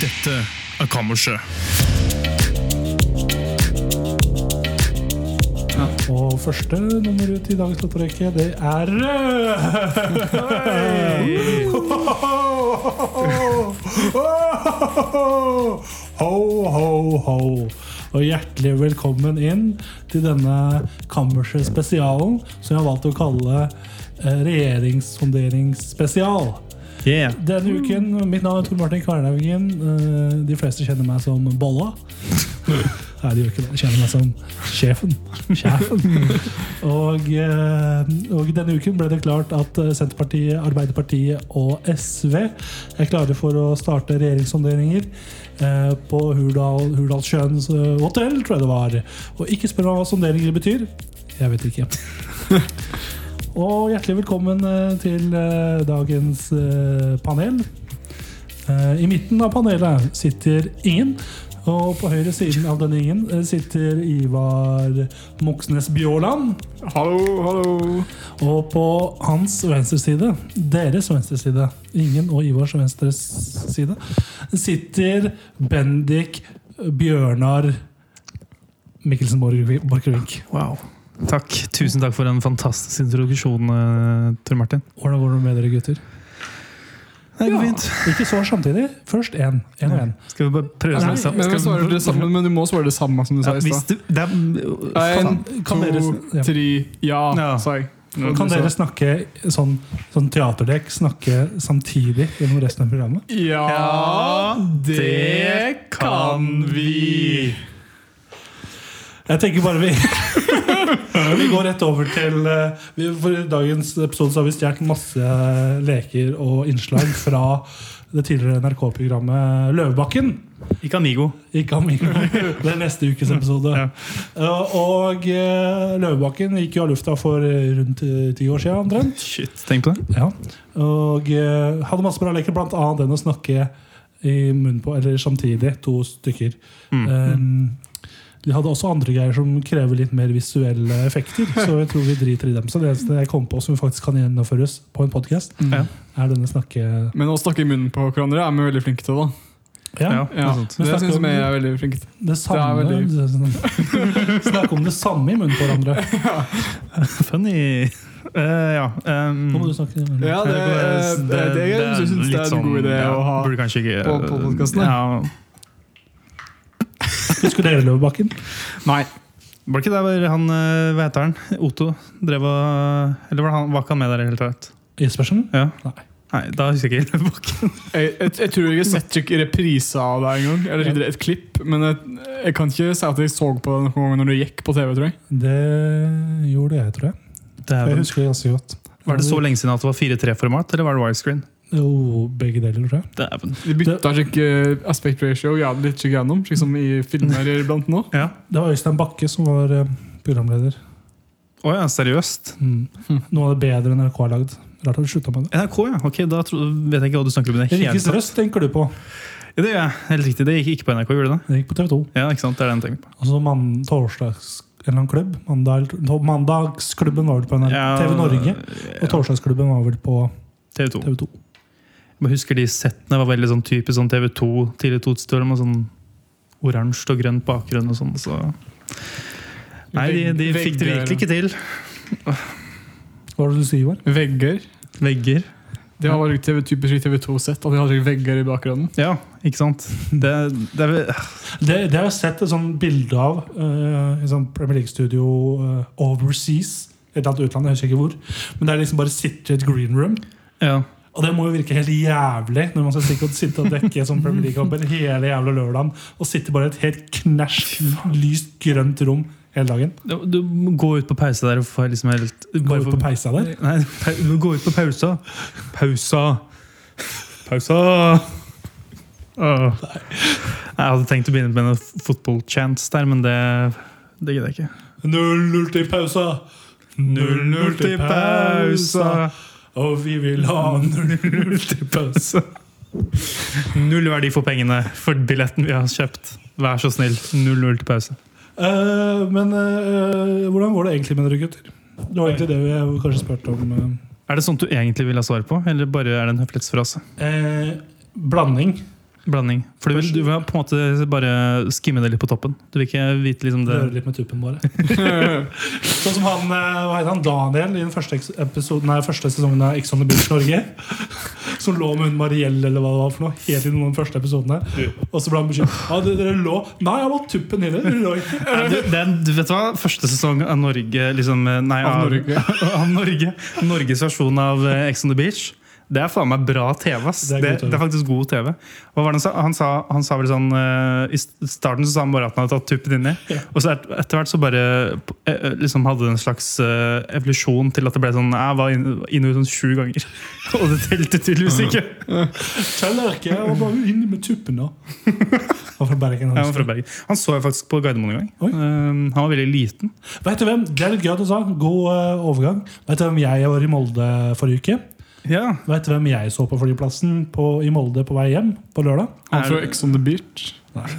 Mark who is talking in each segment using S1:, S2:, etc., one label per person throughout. S1: dette er Kammerset.
S2: Og første nummer ut i dagens lottorekke, det er eh, Ho, ho, ho. Og hjertelig velkommen inn til denne Kammerset-spesialen, som jeg har valgt å kalle eh, regjeringssonderingsspesial.
S1: Yeah.
S2: Denne uken, Mitt navn er Tor Martin Kvernhaugen. Eh, De fleste kjenner meg som Bolla. Nei, de gjør ikke det. De kjenner meg som Sjefen. Sjefen. Og, eh, og denne uken ble det klart at eh, Senterpartiet, Arbeiderpartiet og SV er klare for å starte regjeringssonderinger eh, på Hurdal, Hurdalssjøens eh, hotell, tror jeg det var. Og ikke spør meg hva sonderinger betyr. Jeg vet ikke. Og hjertelig velkommen eh, til eh, dagens eh, panel. Eh, I midten av panelet sitter ingen. Og på høyre siden av denne ingen eh, sitter Ivar Moxnes Bjåland.
S3: Hallo, hallo.
S2: Og på hans venstre side, deres venstre side, ingen og Ivars venstre side, sitter Bendik Bjørnar Mikkelsen Borchgrevink. Borchgrevink.
S1: Wow. Takk. Tusen takk for en fantastisk introduksjon, eh, Tor Martin.
S2: Hvordan går det med dere, gutter?
S1: Det går fint.
S2: Ikke svar samtidig. Først én. Én og én.
S1: Skal vi bare prøve
S2: Nei,
S1: oss sammen?
S3: Men,
S1: Skal
S3: vi
S1: vi-
S3: svarer dere sammen, men du må svare det samme som du
S1: Ja,
S3: sa i
S1: hvis
S3: stad.
S1: du, det er,
S3: En,
S2: kan dere- ja.
S3: to, tre, ja,
S1: Ja.
S3: sa jeg.
S2: Og Kan dere snakke sånn, sånn teaterdekk snakke samtidig gjennom resten av programmet?
S3: Ja, det kan vi.
S2: Jeg tenker bare vi Vi går rett over til eh, vi, For i dagens episode så har vi stjålet masse eh, leker og innslag fra det tidligere NRK-programmet Løvebakken.
S1: Ikke Amigo.
S2: Ikke Amigo. Det er neste ukes episode.
S1: Ja.
S2: Eh, Og eh, Løvebakken gikk jo av lufta for eh, rundt eh, ti år siden, omtrent.
S1: Shit, tenk på det.
S2: Ja, og eh, hadde masse bra leker, blant annet den å snakke i munnen på, eller samtidig, to stykker.
S1: Mm.
S2: Eh, de hadde også andre greier som krever litt mer visuelle effekter, så jeg tror vi driter i dem. Så det eneste jeg kom på som faktisk kan gjennomføres på en podkast,
S1: Ja.
S2: er denne snakke...
S3: Men å snakke i munnen på hverandre er vi veldig flinke til. da
S2: Ja,
S1: Ja.
S3: ja.
S1: det er sant.
S2: Men
S3: Det
S2: snakker
S3: syns
S2: om-
S3: vi er veldig flinke til.
S2: det samme.
S3: Det
S2: Snakke om det samme i munnen på hverandre.
S1: Funny. Eh, ja. ehm,
S2: Nå må du snakke...
S3: Ja, det, det, det, jeg synes det er en god idé
S1: sånn, ja,
S3: å ha.
S1: Burde kanskje ikke
S3: på- på podcasten,
S1: Ja.
S2: Husker dere Løvebakken?
S3: Nei.
S1: Var det ikke der hvor han, eh, hva heter han, Otto, drev og Eller var, han, var ikke han med der i det hele tatt?
S2: Jespersen?
S1: Ja.
S2: Nei.
S1: Nei, da husker jeg ikke. Bakken.
S3: Jeg, jeg, jeg tror jeg har sett ikke reprise av det engang. Eller et klipp. Men jeg, jeg kan ikke si at jeg så på det noen gang når det gikk på TV. tror jeg
S2: Det gjorde jeg, tror jeg. Jeg husker det ganske godt.
S1: Var det så lenge siden at det var 4-3-format, eller var det widescreen?
S2: Jo, begge deler, tror jeg.
S1: Dæven.
S3: De bytta ikke eh, aspect ratio jævlig ikke gjennom, slik som i filmer iblant nå.
S1: Ja.
S2: Det var Øystein Bakke som var eh, programleder.
S1: Å ja, seriøst? Hm.
S2: Noe av det bedre NRK har lagd. Rart at du slutta med det.
S1: NRK, ja. Ok, Da tro, vet jeg ikke hva du snakker om. i Det, hele
S2: Rikets
S1: tatt.
S2: Røst tenker du på.
S1: ja, det gjør jeg. Helt riktig. Det gikk ikke på NRK, gjorde det?
S2: Det gikk på TV 2.
S1: Ja, ikke sant? Det er den tenker på.
S2: Og så mann- torsdags en eller annen klubb. Mandag, to- mandagsklubben var vel på NRK,
S1: Ja,
S2: TV Norge. Og
S1: Ja,
S2: torsdagsklubben var vel på
S1: TV 2.
S2: TV 2.
S1: Jeg husker de settene var veldig sånn typisk sånn TV2 tidlig 2000-år, med sånn oransje og grønn bakgrunn og sånn. Så. Nei, de, de fikk det virkelig ikke til.
S2: Hva var det du sa, Ivar?
S3: Vegger.
S1: Vegger.
S3: Det var jo TV, typisk TV2-sett, at de hadde vegger i bakgrunnen.
S1: Ja, ikke sant? Det, det er vel-
S2: Det, det har jeg sett et sånt bilde av eh, i sånn Premier League-studio eh, overseas. Et eller annet utland, jeg husker ikke hvor. Men der liksom bare sitter i et green room.
S1: ja.
S2: Og det må jo virke helt jævlig når man skal stikke og sitte og dekke som Premier League-kamper hele jævla lørdagen og sitte bare i et helt knæsj lyst grønt rom hele dagen.
S1: Du må gå ut på pause der og få liksom helt
S2: Går ut på peisa der.
S1: Nei, pa- du må gå ut på pausa. Pausa! Pausa! Åh. Jeg hadde tenkt å begynne med noen fotballchants der, men det, det gidder jeg ikke.
S2: 0-0 til pausa! 0-0 til pausa! Og vi vil ha 0-0 til pausa!
S1: Null verdi for pengene for billetten vi har kjøpt. Vær så snill. 0-0 til pause.
S2: Eh, men eh, hvordan var det egentlig med dere gutter? Det var egentlig det vi kanskje spurte om. eh.
S1: Er det sånt du egentlig vil ha svar på, eller bare er det en høflighetsfrase?
S2: Eh, blanding.
S1: Blanding. For du vil, du vil på en måte bare skimme det litt på toppen. Du vil ikke vite liksom det
S2: Røre litt med tuppen bare. sånn som han, eh, hva heter han Daniel i den første, eks- episoden, nei, første sesongen av Ex on the Beach Norge. Som lå med hun Mariell eller hva det var for noe helt i noen av de første episodene. Og så ble han bekymret. Ja, dere, dere lå Nei, jeg var tuppen inne. Dere lå ikke.
S1: Nei, du, det er, du vet hva? Første sesong av Norge liksom, eh, Nei,
S3: Av
S1: av,
S3: Norge.
S1: av Norge. Norges versjon av eh, Ex on the Beach. Det er faen meg bra TV. ass.
S2: Det
S1: Det er,
S2: er god
S1: det,
S2: TV.
S1: er faktisk god TV. Hva var det han sa? Han sa, han sa vel sånn eh, I st- starten så sa han bare at han hadde tatt tuppen inni.
S2: Ja.
S1: Og så et, etter hvert så bare eh, eh, liksom hadde det en slags eh, evolusjon til at det ble sånn Jeg var inn- inne og ut sånn sju ganger. Og det telte tydeligvis ikke.
S2: Teller ikke. Jeg var bare inne med tuppen da. Han fra Bergen.
S1: Jeg var
S2: Han.
S1: fra Bergen. Han så jeg faktisk på Gardermoen en gang.
S2: Oi.
S1: Eh, han var veldig liten.
S2: Vet du hvem? Det er litt gøy at du sa. God eh, overgang. Vet du hvem jeg var i Molde forrige uke?
S1: Ja.
S2: Vet du hvem jeg så på flyplassen på, i Molde på vei hjem på lørdag?
S3: Han
S1: Er-
S3: fra Ex on the Beach.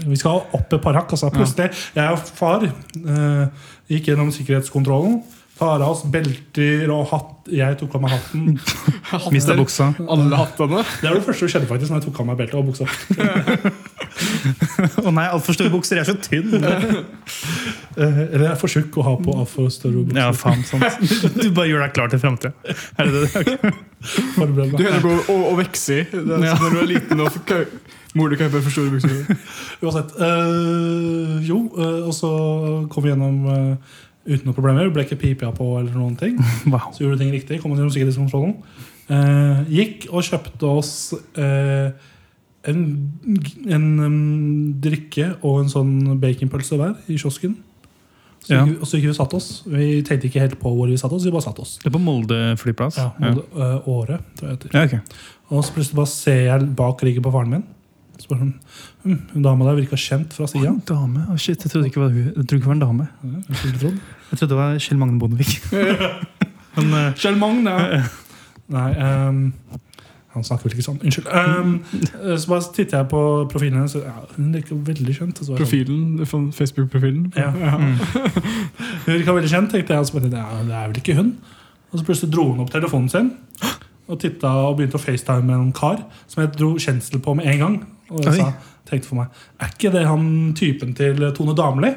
S2: Vi skal opp et par hakk. Altså. Plutselig, jeg og far eh, gikk gjennom sikkerhetskontrollen. Tar av oss belter og hatt. Jeg tok av meg hatten.
S1: Mista buksa.
S3: Alle hattene.
S2: Det var det første som skjedde, faktisk. Når jeg tok av meg beltet og buksa
S1: Å nei, altfor store bukser. Jeg er så tynn.
S2: eh, Det er for tjukk å ha på av for større bukser.
S1: Ja, faen, sant. Du bare gjør deg klar til framtida. Er det det? Ok.
S2: Forbered
S3: Du
S2: meg.
S3: heller går og, og vokser i. Det er
S1: Ja.
S3: sånn Når du er liten og får kau- mor du kauper for store bukser.
S2: Uansett. eh, jo, eh, og så kom vi gjennom eh, uten noen problemer. Ble ikke pipia på eller noen ting.
S1: Wow.
S2: Så gjorde vi ting riktig. Kom oss gjennom sikkerhetskontrollen. Eh, gikk og kjøpte oss eh, en, en em, drikke og en sånn baconpølse hver i kiosken. Så
S1: Ja.
S2: gikk, vi- og så gikk vi og satte oss. Vi tenkte ikke helt på hvor vi satte oss, vi bare satte oss.
S1: Det er på Molde flyplass.
S2: Ja,
S1: Ja.
S2: Molde, eh, Åre, tror jeg det heter.
S1: Ja, ok.
S2: Og så plutselig bare ser jeg bak ryggen på faren min. Så bare sånn, hm, Hun dama der virka kjent fra
S1: Å,
S2: sida.
S1: en dame? Å, shit, jeg trodde ikke det var, hun. Jeg trodde ikke det var en dame. Jeg trodde det var Kjell Magne Bondevik. Men eh,
S2: Kjell Magne! Nei, ehm, han snakker vel ikke sånn. Unnskyld. Ehm, eh, så bare titter jeg på profilen hennes. og Ja, hun virker veldig kjent. og så var jeg sånn,
S3: Profilen, fra Facebook-profilen.
S2: Ja. Hun virka veldig kjent, tenkte jeg. Og så bare, tenkte jeg, ja, det er vel ikke hun. Og så plutselig dro hun opp telefonen sin og tittet og begynte å facetime med en kar som jeg dro kjensel på med en gang. Og
S1: Oi.
S2: jeg sa, tenkte for meg, er ikke det han typen til Tone Damli?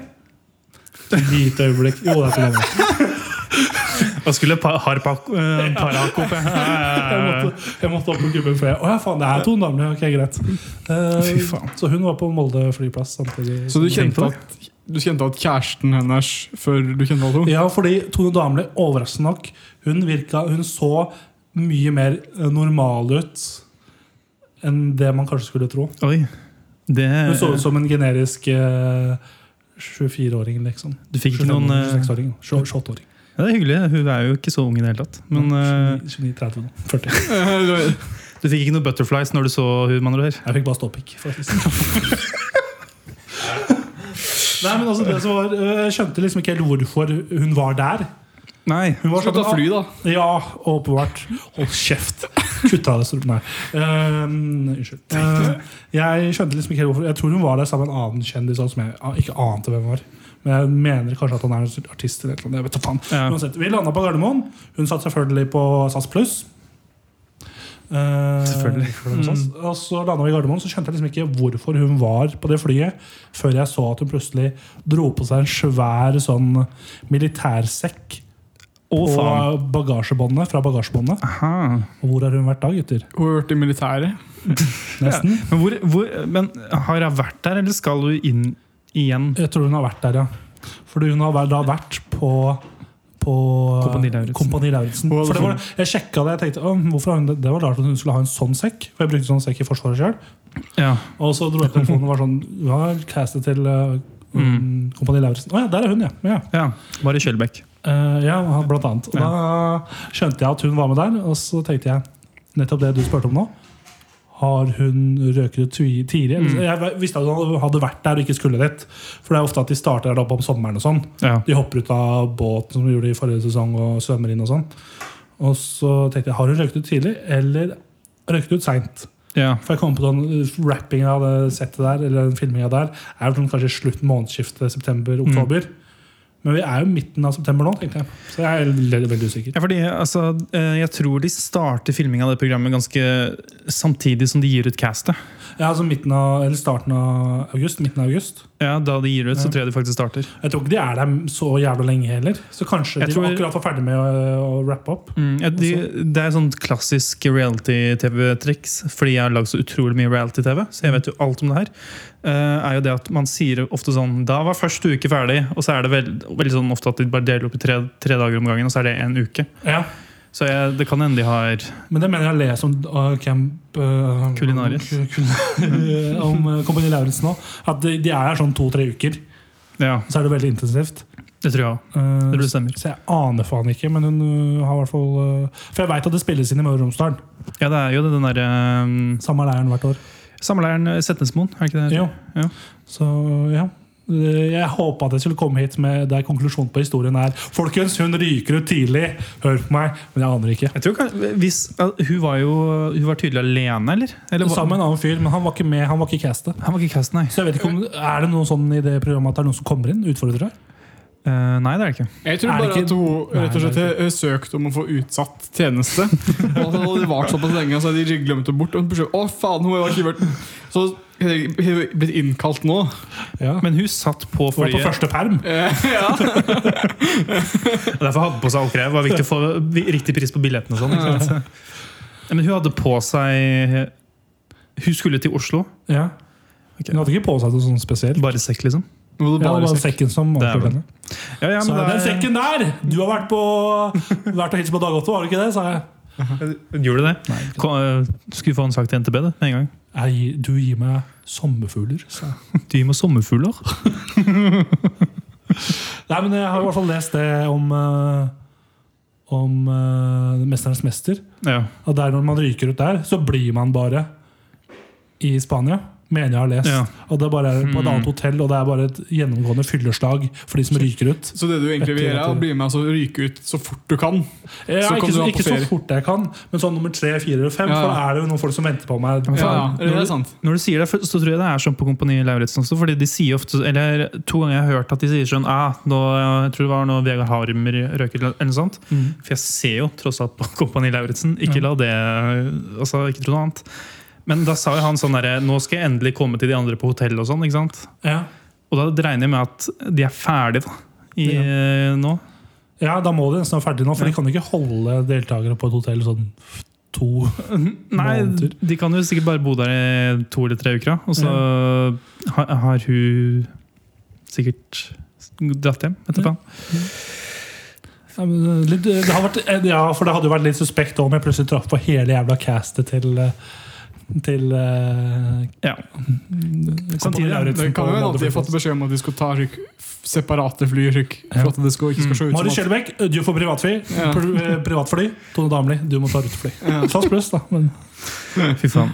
S2: Et lite øyeblikk. Jo, det er Tone Damli.
S1: Hva skulle pa- Harpak eh, Parak opp? ja. Ja, ja,
S2: Jeg
S1: ja, ja.
S2: måtte, jeg måtte opp på gubben før jeg Å ja, faen, det er Tone Damli. Ok, greit. Eh,
S1: Fy faen.
S2: så hun var på Molde flyplass samtidig.
S3: Så du
S1: Tenk
S3: kjente,
S1: på
S3: at, du kjente at kjæresten hennes før du kjente alle to?
S2: Ja, fordi Tone Damli, overraskende nok, hun, virka, hun så mye mer eh, normal ut enn det man kanskje skulle tro.
S1: Oi. Det
S2: Hun så ut som en generisk eh, 24-åring, liksom.
S1: Du fikk ikke noen eh,
S2: 26-åring. 28-åring.
S1: ja, Det er hyggelig. Hun er jo ikke så ung i det hele tatt. Men eh,
S2: 29-30 nå. 40.
S1: du fikk ikke noe butterflies når du så hun, med andre ord?
S2: Jeg fikk bare ståpikk, faktisk. Nei, men altså det som var eh, Jeg skjønte liksom ikke helt hvorfor hun var der.
S1: Nei.
S2: Hun var
S3: Skal ta
S2: sånn,
S3: fly, da.
S2: Ja, åpenbart. Hold kjeft! Kutta det. så- Nei. Ehm, unnskyld. Ehm, jeg skjønte liksom ikke helt hvorfor Jeg tror hun var der sammen med en annen kjendis også, som jeg ah, ikke ante hvem var. Men jeg mener kanskje at han er en artist eller et eller annet. Jeg vet da faen.
S1: Ja.
S2: Uansett, vi landa på Gardermoen. Hun satt selvfølgelig på SAS Pluss. Ehm,
S1: Selvfølgelig.
S2: Mm. Og så landa vi i Gardermoen, så skjønte jeg liksom ikke hvorfor hun var på det flyet, før jeg så at hun plutselig dro på seg en svær sånn militærsekk
S1: Å,
S2: på
S1: faen.
S2: bagasjebåndet, fra bagasjebåndet.
S1: Aha.
S2: Og hvor har hun vært da, gutter?
S3: Hun har vært i militæret.
S2: Nesten.
S1: Men, hvor, hvor, men har hun vært der, eller skal hun inn igjen?
S2: Jeg tror hun har vært der, ja. Fordi hun har vært- da vært på på
S1: Kompani Lauritsen.
S2: Kompani Lauritsen.
S3: På-
S2: For det var, jeg sjekka det. Jeg tenkte, «Å, hvorfor har hun det? det var rart at hun skulle ha en sånn sekk. For jeg brukte sånn sekk i Forsvaret sjøl.
S1: Ja.
S2: Og så dro jeg på telefonen og var sånn Ja, castet til eh,
S1: Mm.
S2: Kompani Lauritsen. Å ja, der er hun, ja. ja.
S1: ja. Bare i Kjølbekk.
S2: Eh, ja, han- blant annet. Og
S1: Ja.
S2: Da skjønte jeg at hun var med der, og så tenkte jeg nettopp det du spurte om nå. Har hun røket ut tvi- tidligere? Jeg visste at hun hadde vært der og ikke skulle dit. For det er ofte at de starter der oppe om sommeren og sånn.
S1: Ja.
S2: De hopper ut av båten som de gjorde i forrige sesong, og svømmer inn og sånn. Og så tenkte jeg, har hun røket ut tidlig, eller røket ut seint?
S1: ja.
S2: For jeg kom på den rappingen av det settet der, eller den filmingen der, er vel sånn kanskje slutt månedsskiftet
S1: Mm.
S2: september-oktober. Men vi er jo midten av september nå, tenkte jeg. Så jeg er veldig, veldig usikker.
S1: Ja, fordi altså, eh, Jeg tror de starter filming av det programmet ganske samtidig som de gir ut castet.
S2: Ja, altså midten av, eller starten av august. Midten av august.
S1: Ja, Da de gir ut, så
S2: Ja.
S1: tror jeg de faktisk starter.
S2: Jeg tror ikke de er der så jævla lenge heller. Så kanskje
S1: Jeg
S2: de
S1: tror-
S2: akkurat var ferdig med å, å rappe opp.
S1: Mm, ja, de, det er sånn klassisk reality-TV-triks, fordi jeg har lagd så utrolig mye reality-TV. Så jeg vet jo alt om det her. eh, er jo det at Man sier ofte sånn 'Da var første uke ferdig', og så er det veld, veldig sånn ofte at de bare deler opp i tre, tre dager om gangen, og så er det én uke.
S2: Ja.
S1: Så jeg, det kan hende de har
S2: Men det mener jeg å lese om uh, Camp uh,
S1: Kulinaris.
S2: ku- kul- om uh, Kompani Lauritzen nå. At de, de er her sånn to-tre uker.
S1: Ja,
S2: Så er det veldig intensivt.
S1: det tror jeg òg.
S2: Uh,
S1: Det tror jeg stemmer.
S2: så jeg aner faen ikke, men hun uh, har i hvert fall uh, For jeg veit at det spilles inn i Møre og Romsdal.
S1: Ja, det er jo den derre um,
S2: Samme leiren hvert år.
S1: Samleiren eh, Setnesmoen, er det ikke det?
S2: Jo.
S1: Ja.
S2: Så ja. Uh, Jeg håpa at jeg skulle komme hit med der konklusjonen på historien er Folkens, hun ryker ut tidlig! Hør på meg! Men jeg aner ikke.
S1: Jeg tror kan, hvis, ja, hun var jo Hun var tydelig alene, eller? eller var-
S2: Sammen med en annen fyr, men han var ikke med. Han var ikke castet.
S1: Han var ikke cast, nei.
S2: Så jeg vet ikke om, Er det noe sånn i det programmet at det er noen som kommer inn? Utfordrere?
S1: Eh, nei, det er det ikke.
S3: Jeg tror
S2: Er det
S3: bare
S2: ikke-
S3: at hun rett og slett
S2: Nei,
S3: har søkt om å få utsatt tjeneste. Og at det hadde vart såpass lenge, så hadde de glemt det bort. Og hun forsøkte, å faen, hun har ikke vært Så har hun blitt innkalt nå.
S2: Ja.
S1: Men hun satt på
S2: Var på
S1: flyet.
S2: første perm?
S3: Eh, ja.
S1: Og Derfor hadde hun på seg alt greier. Det var viktig å få vi- riktig pris på billettene. og Sånn, ikke sant? Ja, Men hun hadde på seg Hun skulle til Oslo.
S2: Ja. Hun hadde ikke på seg noe sånt spesielt.
S1: Bare sekk, liksom.
S3: Nå må du
S2: Ja, det
S3: bare
S2: var
S3: se.
S2: sekken som
S1: Det er
S2: avslørte
S1: vel-
S2: henne.
S1: Ja, ja,
S2: Så
S1: men
S2: den
S1: det er-
S2: sekken der! Du har vært på Vært og hilst på Dag Otto, har du ikke det? sa jeg.
S1: Gjorde du det? Kom, eh, skulle få en sak til NTB det, med en gang.
S2: jeg gir- du gir meg sommerfugler, sa jeg.
S1: De med sommerfugler.
S2: Nei, men jeg har i hvert fall lest det om eh, Om eh, 'Mesternes mester'.
S1: Ja.
S2: Og der når man ryker ut der, så blir man bare i Spania. Mener jeg har lest.
S1: Ja.
S2: Og det er bare på et annet hotell, og det er bare et gjennomgående fylleslag for de som ryker ut.
S3: Så det du egentlig vil
S2: Etter-
S3: gjøre, er å bli med og ryke ut så fort du kan.
S2: Ja,
S3: Så kan
S2: ikke
S3: du
S2: så,
S3: ha på
S2: ikke så
S3: ferie.
S2: fort jeg kan, men sånn nummer tre, fire eller fem.
S3: Ja, ja.
S2: For da er det jo noen folk som venter på meg.
S3: Ja, ja, det er sant.
S1: Når du sier det, så tror jeg det er sånn på Kompani Lauritzen også. Fordi de sier ofte Eller to ganger jeg har hørt at de sier sånn ah, nå, Jeg tror det var når Vegard Harmer røyket, eller noe sånt. For jeg ser jo tross alt på Kompani Lauritzen. Ikke la det altså, Ikke tro noe annet. Men da sa jo han sånn derre Nå skal jeg endelig komme til de andre på hotellet og sånn. ikke sant?
S2: Ja.
S1: Og da regner jeg med at de er ferdige da, i, eh, nå.
S2: ja, da må de nesten være ferdig nå, for
S1: Ja.
S2: de kan jo ikke holde deltakere på et hotell sånn to
S1: Nei,
S2: Måneder.
S1: de kan jo sikkert bare bo der i to eller tre uker, da. og så har, har hun sikkert dratt hjem etterpå.
S2: ja, men eh, litt, det har vært, ja, for det hadde jo vært litt suspekt om jeg plutselig traff på hele jævla castet til eh, til eh,
S1: Ja.
S2: Kompani Lauritzen
S3: Det
S2: på
S3: kan jo hende at de har
S2: Molde
S3: fått beskjed om at de skal ta ryk, f- separate fly ryk, for at det skal, ikke skal se ut som
S2: Mari
S3: at
S2: Kjellbekk, eh, du får privatfly.
S3: Ja.
S2: Pr eh, privatfly. Tone Damli, du må ta rutefly. Fast pluss, da. Men,
S1: Fy faen.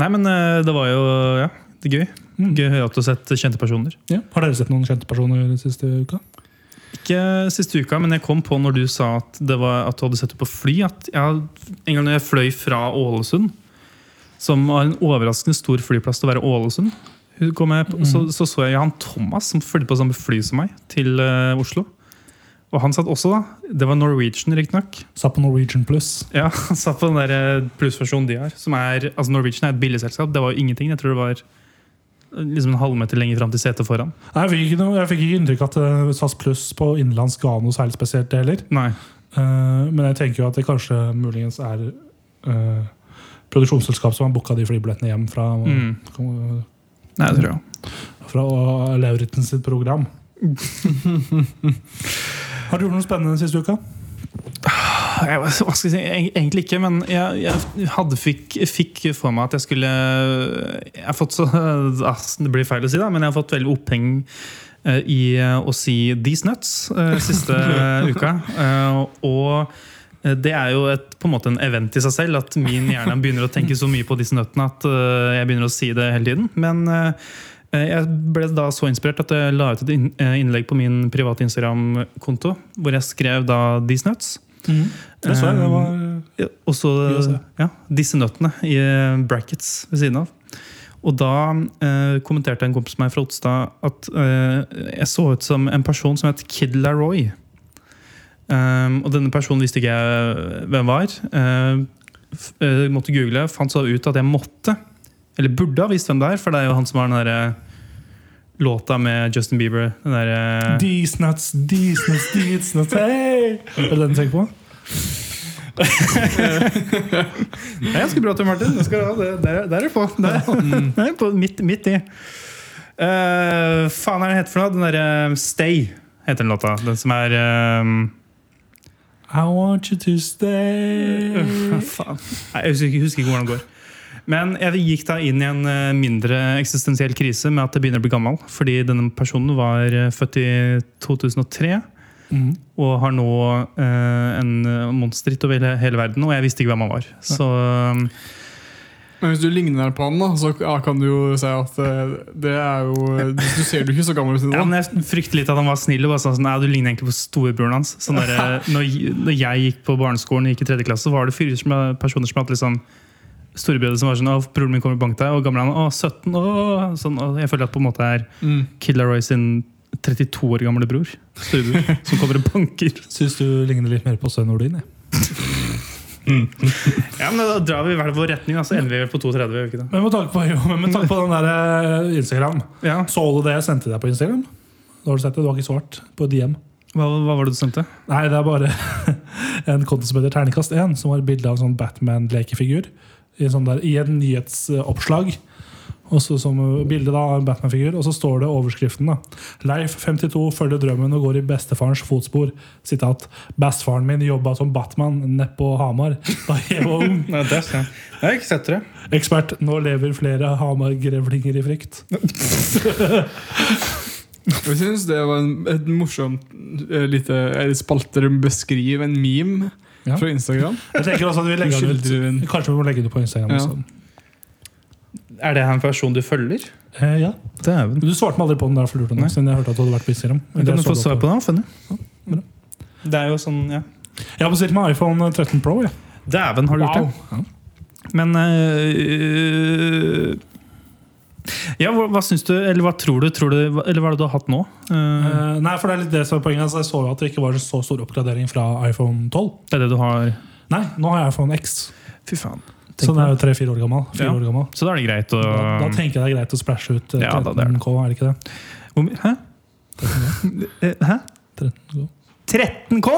S1: Nei, men eh, det var jo ja, det er gøy.
S2: Mm.
S1: Gøy å høre at du har sett kjente personer.
S2: ja. Har dere sett noen kjente personer den siste uka?
S1: Ikke eh, siste uka, men jeg kom på når du sa at, det var, at du hadde sett det på fly. At jeg, en gang når jeg fløy fra Ålesund, som var en overraskende stor flyplass til å være Ålesund, hun kom jeg på, så, så så jeg Jan Thomas, som fulgte på samme fly som meg, til eh, Oslo. Og han satt også, da. Det var Norwegian, riktignok.
S2: Sa på Norwegian pluss.
S1: Ja, han satt på den der eh, plussversjonen de har. Som er, altså Norwegian er et billigselskap. Det var jo ingenting. Jeg tror det var eh, liksom en halvmeter lenger fram til setet foran.
S2: Nei, jeg fikk ikke, noe, jeg fikk ikke inntrykk at eh, SAS Pluss på innenlands ga noe særlig spesielt det heller.
S1: Nei.
S2: Eh, men jeg tenker jo at det kanskje muligens er eh, produksjonsselskap som har booka de flybillettene hjem fra,
S1: Mm. Nei, det tror jeg.
S2: fra Lauritzen sitt program. har du gjort noe spennende den siste uka?
S1: Jeg, hva skal jeg si? Eg- Egentlig ikke, men jeg, jeg hadde fikk, fikk for meg at jeg skulle Jeg har fått så ah, Det blir feil å si, da, men jeg har fått veldig oppheng eh, i eh, å si 'these nuts' eh, siste eh, uka. Eh, Og eh, det er jo et, på en måte en event i seg selv at min hjerne begynner å tenke så mye på disse nøttene at eh, jeg begynner å si det hele tiden. Men eh, Eh, Jeg ble da så inspirert at jeg la ut et inn- eh, innlegg på min private Instagram-konto, hvor jeg skrev da 'These Nuts'.
S3: Mm.
S2: Det så jeg. Det var
S1: Ja, og så
S2: Gøy å se.
S1: ja, disse nøttene i eh, brackets ved siden av. Og da eh, kommenterte en kompis meg fra Otstad at eh, jeg så ut som en person som het Kid Laroy. Um, og denne personen visste ikke Ehm, jeg hvem var. Eh, f eh, måtte google, fant så ut at jeg måtte Eller burde ha visst hvem det er, for det er jo han som har den derre låta med Justin Bieber. Den eh, derre
S2: These nuts, these nuts, these nuts, hey! Er det den du tenker på?
S1: Det er ganske bra, Tor Martin. Det skal du ha. Det- Der, der er du på. Der, der er du på midt, midt i. Eh, faen er det heter for noe? Den derre Stay heter den låta. Den som er eh,
S2: I want you to stay.
S1: Faen. Nei, Jeg husker, ikke- husker ikke hvordan det går. Men jeg gikk da inn i en eh, mindre eksistensiell krise med at jeg begynner å bli gammel. Fordi denne personen var eh, født i 2003
S2: Mhm.
S1: og har nå eh, en eh, monsterhit over hele, hele verden. Og jeg visste ikke hvem han var. Så eh,
S3: Men hvis du ligner på han, da, så ja, kan du jo si at eh, det er jo Du ser jo ikke så gammel ut
S1: Ja,
S3: nå.
S1: men Jeg frykter litt at han var snill. og bare sa sånn, Nei, du ligner egentlig på storebroren hans. Sånn der, når, når jeg gikk på barneskolen, gikk i tredje klasse, var det fyrer som, personer som hadde liksom storebrødre som var sånn Å, broren min kommer og banker deg. Og gamle han, å, 17. Å, sånn, og jeg føler at på en måte er
S3: Mm.
S1: Kid Laroi sin 32 år gamle bror storebror, som kommer og banker.
S2: Syns du ligner litt mer på Svein Nordin? jeg.
S1: Ja, men Da drar vi i hver vår retning, da, så ender vi vel på 32. gjør vi ikke det?
S2: Men med tanke på, jo, men med tanke på den der eh, Instagram
S1: Ja,
S2: Så du det jeg sendte deg på Instagram? Da har du sett det, du har ikke svart på DM.
S1: hva, hva var det du sendte?
S2: Nei, det er bare en konto som heter Ternekast 1, som har et bilde av en sånn Batman-lekefigur i, en sånn der- i et nyhetsoppslag. Og så som bilde da, av en Batman-figur, og så står det overskriften. da. Leif 52 følger drømmen og går i bestefarens fotspor. Sitat. Bestefaren min jobba som Batman nede på Hamar da jeg var ung.
S1: Nei, det er, jeg har ikke sett det.
S2: Ekspert. Nå lever flere Hamar-grevlinger i frykt.
S3: Jeg syns det var en, et morsomt eh, lite en spalte der de beskriver en meme
S2: Ja.
S3: fra Instagram.
S2: Jeg tenker også at vi
S3: Du
S2: legger den ut.
S3: skildrer en
S2: Kanskje vi må legge det på Instagram
S3: Ja.
S2: også.
S1: Er det her en person du følger?
S2: Eh, ja.
S1: Dæven.
S2: Men Du svarte meg aldri på den der, for lurte
S1: Nei.
S2: meg, siden jeg hørte at du hadde vært på Instagram.
S1: Men kan
S2: Eller
S1: du
S2: jeg
S1: få
S2: så
S1: svar
S2: det
S1: på den, Fanny?
S2: bra.
S1: Det er jo sånn, ja.
S2: på- Jeg har bestilt meg iPhone 13 Pro. jeg.
S1: Dæven, har du gjort det? Men øh, Ja, hva, hva syns du, eller hva tror du, tror du hva- Eller hva er det du har hatt nå? Øh,
S2: Eh, nei, for det er litt det som er poenget. Altså, jeg så jo at det ikke var så stor oppgradering fra iPhone 12.
S1: det er det du har
S2: Nei, nå har jeg iPhone X,
S1: Fy faen.
S2: så den er jo tre-fire år gammel. Fire
S1: Ja.
S2: år gammel.
S1: Så da er det greit å
S2: Da, da tenker jeg det er greit å splæsje ut eh,
S1: Ja, da, det er det.
S2: 13K, er det ikke det?
S1: Hvor mye- Hæ?
S2: 13K?
S1: Eh, Hæ?
S2: 13K.
S1: 13K?!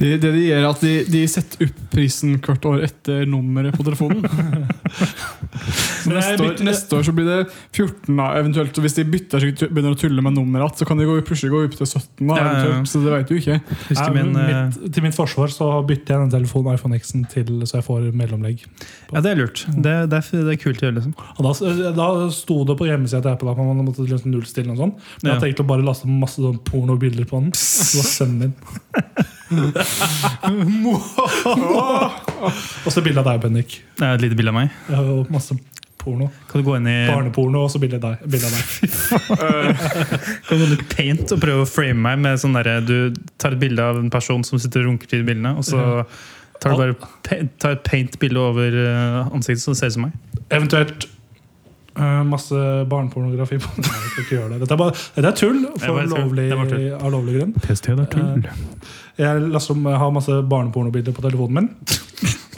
S3: Det, det de gjør, er at de, de setter opp prisen hvert år etter nummeret på telefonen. Så
S2: Men jeg
S3: neste, år,
S2: bytter-
S3: neste år så blir det 14, da, eventuelt. Og hvis de bytter seg begynner å tulle med nummeret igjen, så kan de gå, plutselig gå opp til 17. Da,
S1: Ja, ja, ja.
S3: eventuelt, så det vet du ikke.
S1: Husker
S2: Nei,
S1: min øh,
S2: mitt, til mitt forsvar så bytter jeg den telefonen iPhone X-en til så jeg får mellomlegg.
S1: Ja, det er lurt. Det, det, er, f- det er kult å gjøre, liksom.
S2: Og da, eh, da sto det på hjemmesida til Apple at man måtte liksom nullstille den og sånn. Men
S1: Ja.
S2: jeg tenkte å bare laste masse sånn pornobilder på den. Så bare send den inn. og så bilde av deg, Bendik.
S1: Det er et lite bilde av meg.
S2: Jeg har jo masse porno.
S1: Kan du gå inn i
S2: Barneporno, og så bilde av deg. Bilde av deg.
S1: Kan du gå inn i paint og prøve å frame meg med sånn derre Du tar et bilde av en person som sitter og runker til bildene, og så tar du bare pa- tar et paint-bilde over eh, ansiktet, så det ser ut som meg.
S2: Eventuelt eh, masse barnepornografi på den. Nei, jeg skal ikke gjøre det. Dette er, bare, dette er tull
S1: Det var
S2: for
S1: tull.
S2: lovlig,
S1: Det var tull.
S2: av lovlig grunn.
S1: PST, det
S2: er tull. Eh, Jeg laster om, jeg har masse barnepornobilder på telefonen min.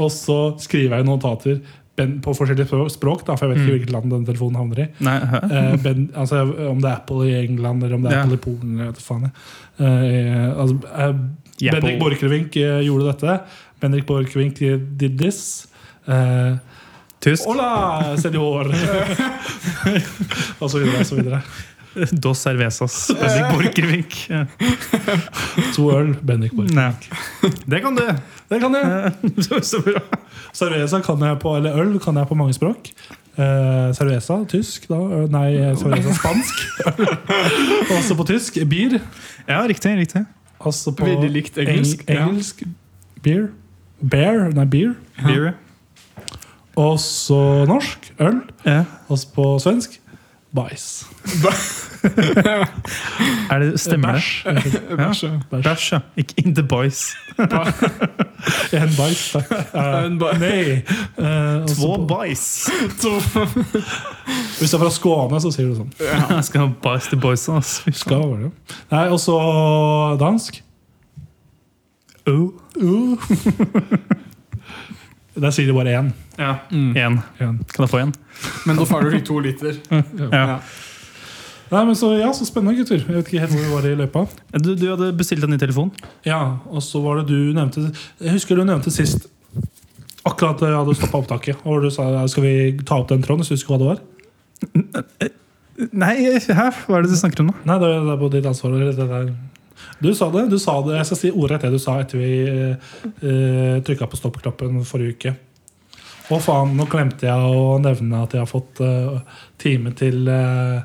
S2: Og så skriver jeg notater ben, på forskjellige spro- språk, da, for jeg vet ikke
S1: Mm.
S2: hvilket land denne telefonen havner i.
S1: Nei, hæ?
S2: Eh, ben, altså, om det er Apple i England, eller om det er
S1: Ja.
S2: Apple i Polen, eller hva faen jeg. Eh, altså, eh,
S1: Japple.
S2: Bendik Borchgrevink eh, gjorde dette. Bendik Borchgrevink eh, did this. Eh,
S1: Tysk.
S2: Hola, senor! og så videre og så videre.
S1: Dos cervezas. Bendik Borchgrevink. Ja.
S2: To øl, Bendik Borch.
S1: Nei. Det kan du!
S2: Det kan jeg!
S1: Så, så bra.
S2: Cerveza kan jeg på, eller øl kan jeg på mange språk. Eh, cerveza, tysk. Da. Ø, Nei, eh, cerveza, spansk. også på tysk. Bier.
S1: Ja, riktig. riktig
S2: Også på
S3: Veldig likt engelsk.
S2: Eng engelsk. Beer. Bear. Nei, beer.
S1: Beer.
S2: Også norsk. Øl.
S1: Ja.
S2: Også på svensk. Bæsj.
S1: Er det, stemmer det?
S2: Bæsj.
S3: Ja. Bæsj, ja.
S1: Bæsj, ja. Ikke In the boys.
S2: En bæsj, takk. Eh,
S3: En bæ-
S2: nei. Eh, også
S1: Två
S2: på-
S1: boys.
S2: Hvis du er fra Skåne, så sier du sånn.
S1: Jeg skal ha boys til boysa, altså. Fy faen.
S2: Skal være det. Nei, også dansk.
S1: Oh.
S2: Uh. Der sier de bare én.
S1: Ja.
S3: Mm.
S1: Én.
S2: én.
S1: Kan jeg få én?
S3: Men da får du de to liter.
S1: Ja.
S2: Nei, men så, ja, så spennende, gutter. Jeg vet ikke helt hvor vi var i løypa.
S1: Du, du hadde bestilt en ny telefon.
S2: Ja, og så var det du nevnte Jeg husker du nevnte sist Akkurat da jeg hadde stoppa opptaket. Og du sa ja, skal vi ta opp den tråden. Så husker du hva det var?
S1: Nei, hæ? Hva er det du snakker om nå?
S2: Nei, det er det er på ditt ansvar. eller Det der. Du sa det. du sa det Jeg skal si ordrett det du sa etter vi uh, trykka på stoppknappen forrige uke. Å faen, nå glemte jeg å nevne at jeg har fått eh, time til eh,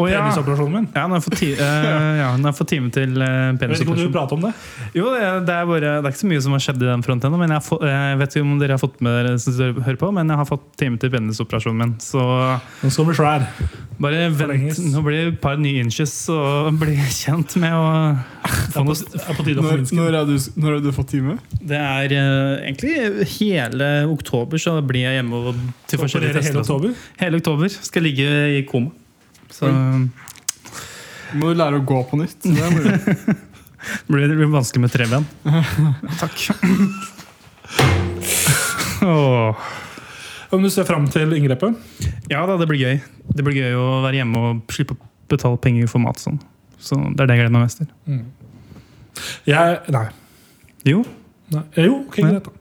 S1: Å, ja.
S2: penisoperasjonen min.
S1: Ja, nå har jeg fått ti- eh, ja, nå har jeg fått time til eh,
S2: Jeg vet ikke om du vil
S1: penisoperasjon.
S2: prate om det?
S1: Jo, det er, det er bare, det er ikke så mye som har skjedd i den fronten ennå. Men jeg, har fått- jeg vet ikke om dere har fått med dere som dere hører på, men jeg har fått time til penisoperasjonen min. Så
S2: Den skal bli svær.
S1: bare vent.
S2: Forlenges.
S1: Nå blir det et par nye inches, så bli kjent med å
S2: Det
S1: få
S2: er på,
S1: noe
S2: det er på tide å
S3: Når,
S2: forminske den.
S3: når, har du, når har du fått time?
S1: Det er eh, egentlig hele oktober så blir jeg hjemme og, til forskjellige
S2: Operere
S1: tester.
S2: hele
S1: og sånn.
S2: oktober.
S1: Hele oktober skal jeg ligge i koma. Så
S3: Må du lære å gå på nytt? Det er moro.
S1: blir det blir vanskelig med treben. Takk. Åh.
S2: Om du ser fram til inngrepet?
S1: Ja da, det blir gøy. Det blir gøy å være hjemme og slippe å betale penger for mat. Sånn. Så det er det jeg gleder meg mest til.
S2: Jeg Nei.
S1: Jo,
S2: Nei. Eh, Jo, ok,
S1: Nei.
S2: greit. da.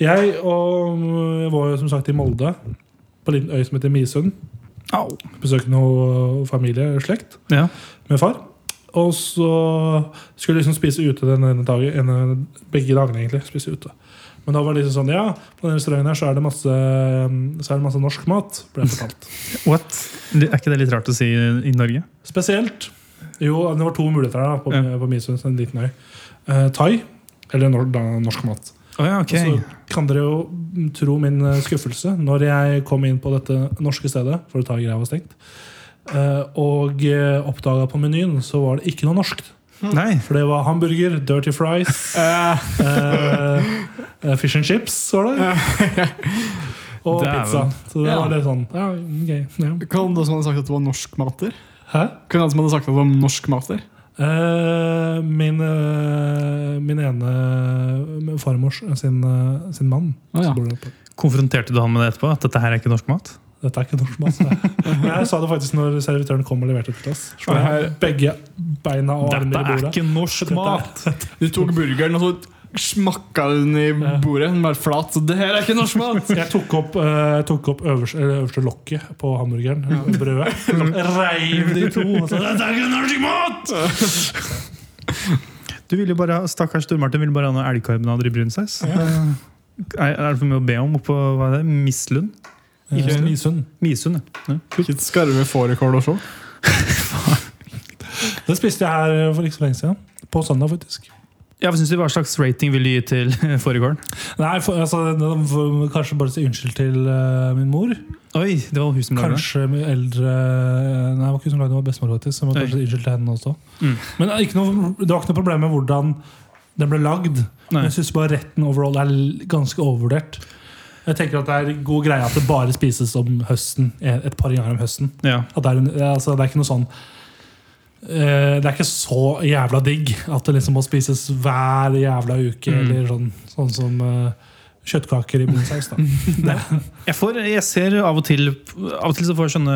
S2: Jeg og, jeg var jo som sagt i Molde, på en liten øy som heter Misund. Besøkte noe familie, slekt,
S1: ja.
S2: med far. Og så skulle vi liksom spise ute den ene dagen, ene, begge dagene, egentlig. spise ute. Men da var det liksom sånn Ja, på den restauranten her så er det masse, så er det masse norsk mat. ble jeg fortalt.
S1: What? Er ikke det litt rart å si i Norge?
S2: Spesielt Jo, det var to muligheter her da, på,
S1: Ja.
S2: på Misund, en liten øy. Eh, thai, eller nor da, norsk mat.
S1: Å ja, ok.
S2: Og Så kan dere jo tro min eh, skuffelse når jeg kom inn på dette norske stedet, for å ta greia var stengt, eh, og oppdaga på menyen så var det ikke noe norsk.
S1: Nei.
S2: For det var hamburger, dirty fries,
S3: Eh,
S2: eh, eh, fish and chips var det.
S3: eh,
S2: Og
S1: Dæven.
S2: pizza. Så det
S3: Ja.
S2: var litt sånn ja, ok, ja.
S3: Kan det som hadde sagt at det var norskmater?
S2: Hæ?
S3: Kunne han som hadde sagt at det var norskmater?
S2: Eh, min, eh, min ene farmors sin, eh, sin mann
S3: Å, ja.
S2: som bor der oppe.
S1: Konfronterte du han med det etterpå? At dette her er ikke norsk mat?
S2: Dette er ikke norsk mat. sa jeg. Men jeg sa det faktisk når servitøren kom og leverte det til oss. Slo jeg
S3: Her-
S2: begge beina og armene
S1: Dette er
S2: i bordet.
S1: ikke norsk
S2: Dette er-
S1: mat!
S3: Du tok burgeren og så smakka den i bordet. Den var flat. Så det her er ikke norskmat!
S2: Jeg tok opp, eh, tok opp øverste, eller øverste lokket på hamburgeren. Brødet. Liksom,
S1: Mm.
S2: Reiv det i to. Og så, Dette er ikke norsk mat!
S1: Du vil jo bare, ha- Stakkars Tor Martin vil bare ha noe elgkarbonader i brunsaus. Eh, Er, er det for mye å be om oppå hva er det? Mislund?
S2: Eh, Misund.
S1: Misund, ja.
S3: Ikke et skarve fårikål og så.
S2: Det spiste jeg her eh, for ikke så lenge siden. På søndag, faktisk.
S1: Ja, hva synes du, Hva slags rating vil du gi til foregården?
S2: Nei, for, altså, det- for, Kanskje bare si unnskyld til eh, min mor.
S1: Oi, det var hun som lagde det.
S2: Kanskje mye eldre eh, Nei, det var ikke hun som lagde det, det var bestemor faktisk. Så jeg må
S1: Oi.
S2: kanskje unnskylde til henne også.
S1: Mm.
S2: Men det er ikke noe, det var ikke noe problem med hvordan den ble lagd.
S1: Nei.
S2: Men jeg syns bare retten overall er l- ganske overvurdert. Jeg tenker at Det er en god greie at det bare spises om høsten eh, et par ganger om høsten.
S1: Ja.
S2: At det, er, en- altså, det er ikke noe sånn eh, Det er ikke så jævla digg at det liksom må spises hver jævla uke.
S1: Mm.
S2: Eller sånn, sånn som eh, kjøttkaker i bunnsaus. da.
S1: Jeg, får, jeg ser av og til Av og til så får jeg sånne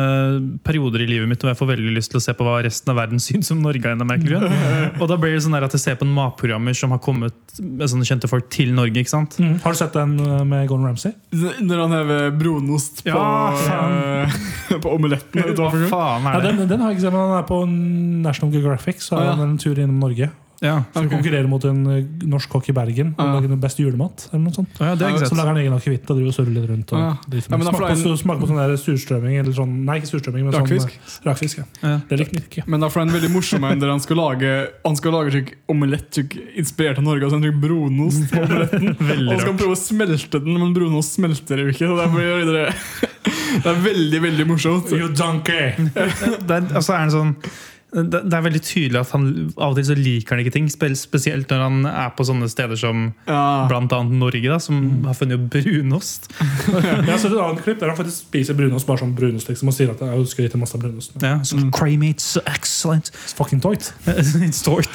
S1: perioder i livet mitt hvor jeg får veldig lyst til å se på hva resten av verden syns om Norge. av en eller annen merkelig grunn. Og da blir det sånn der at jeg ser på en matprogrammer som har kommet med sånne kjente folk til Norge. ikke sant?
S2: Mm. Har du sett den eh, med Gordon Ramsay?
S3: Når han hever brunost på,
S1: Ja, faen.
S3: eh, på omeletten. Vet du hva for noe?
S1: faen
S2: Ja,
S1: er det?
S2: den, den har jeg ikke sett, men han er på National Geographic. Så
S3: Ah,
S2: er
S3: ja.
S2: han en tur innom Norge.
S1: Ja,
S2: Skal
S3: Ok.
S2: konkurrere mot en eh, norsk kokk i Bergen.
S3: Ah,
S2: Han
S3: ja.
S2: lager den beste julemat. eller noe sånt.
S1: Å, ja det har jeg
S2: Så
S1: ikke sett.
S2: lager han egen akevitt og driver og surrer litt rundt. Og
S3: Ah, ja.
S2: driter
S3: Ja,
S2: med.
S3: men da
S2: smaker,
S3: får jeg
S2: på, smaker på sånn der surstrømming eller sånn Nei, ikke surstrømming, men
S3: Rakfisk.
S2: sånn eh, rakfisk. Ja.
S1: Ja.
S2: Det likte han ikke.
S3: Men da får han en veldig morsom en der han skal lage Han skal lage slik omelett slik, inspirert av Norge. Og så en slik brunost på omeletten. Og
S1: Veldig
S3: så skal han
S1: rart.
S3: prøve å smelte den, men brunost smelter jo ikke. Så det, blir, det, det er veldig, veldig morsomt.
S2: You donkey!
S1: det er, altså er han sånn det, det er veldig tydelig at han av og til så liker han ikke ting. spe- Spesielt når han er på sånne steder som
S3: Ja.
S1: bl.a. Norge, da, som har funnet opp brunost.
S2: Jeg har sett et annet klipp der han faktisk spiser brunost bare som brunost. liksom, og sier at jeg ønsker ikke masse brunost.
S1: Ja, så Craymates, so excellent
S2: It's fucking tight.
S1: It's tort.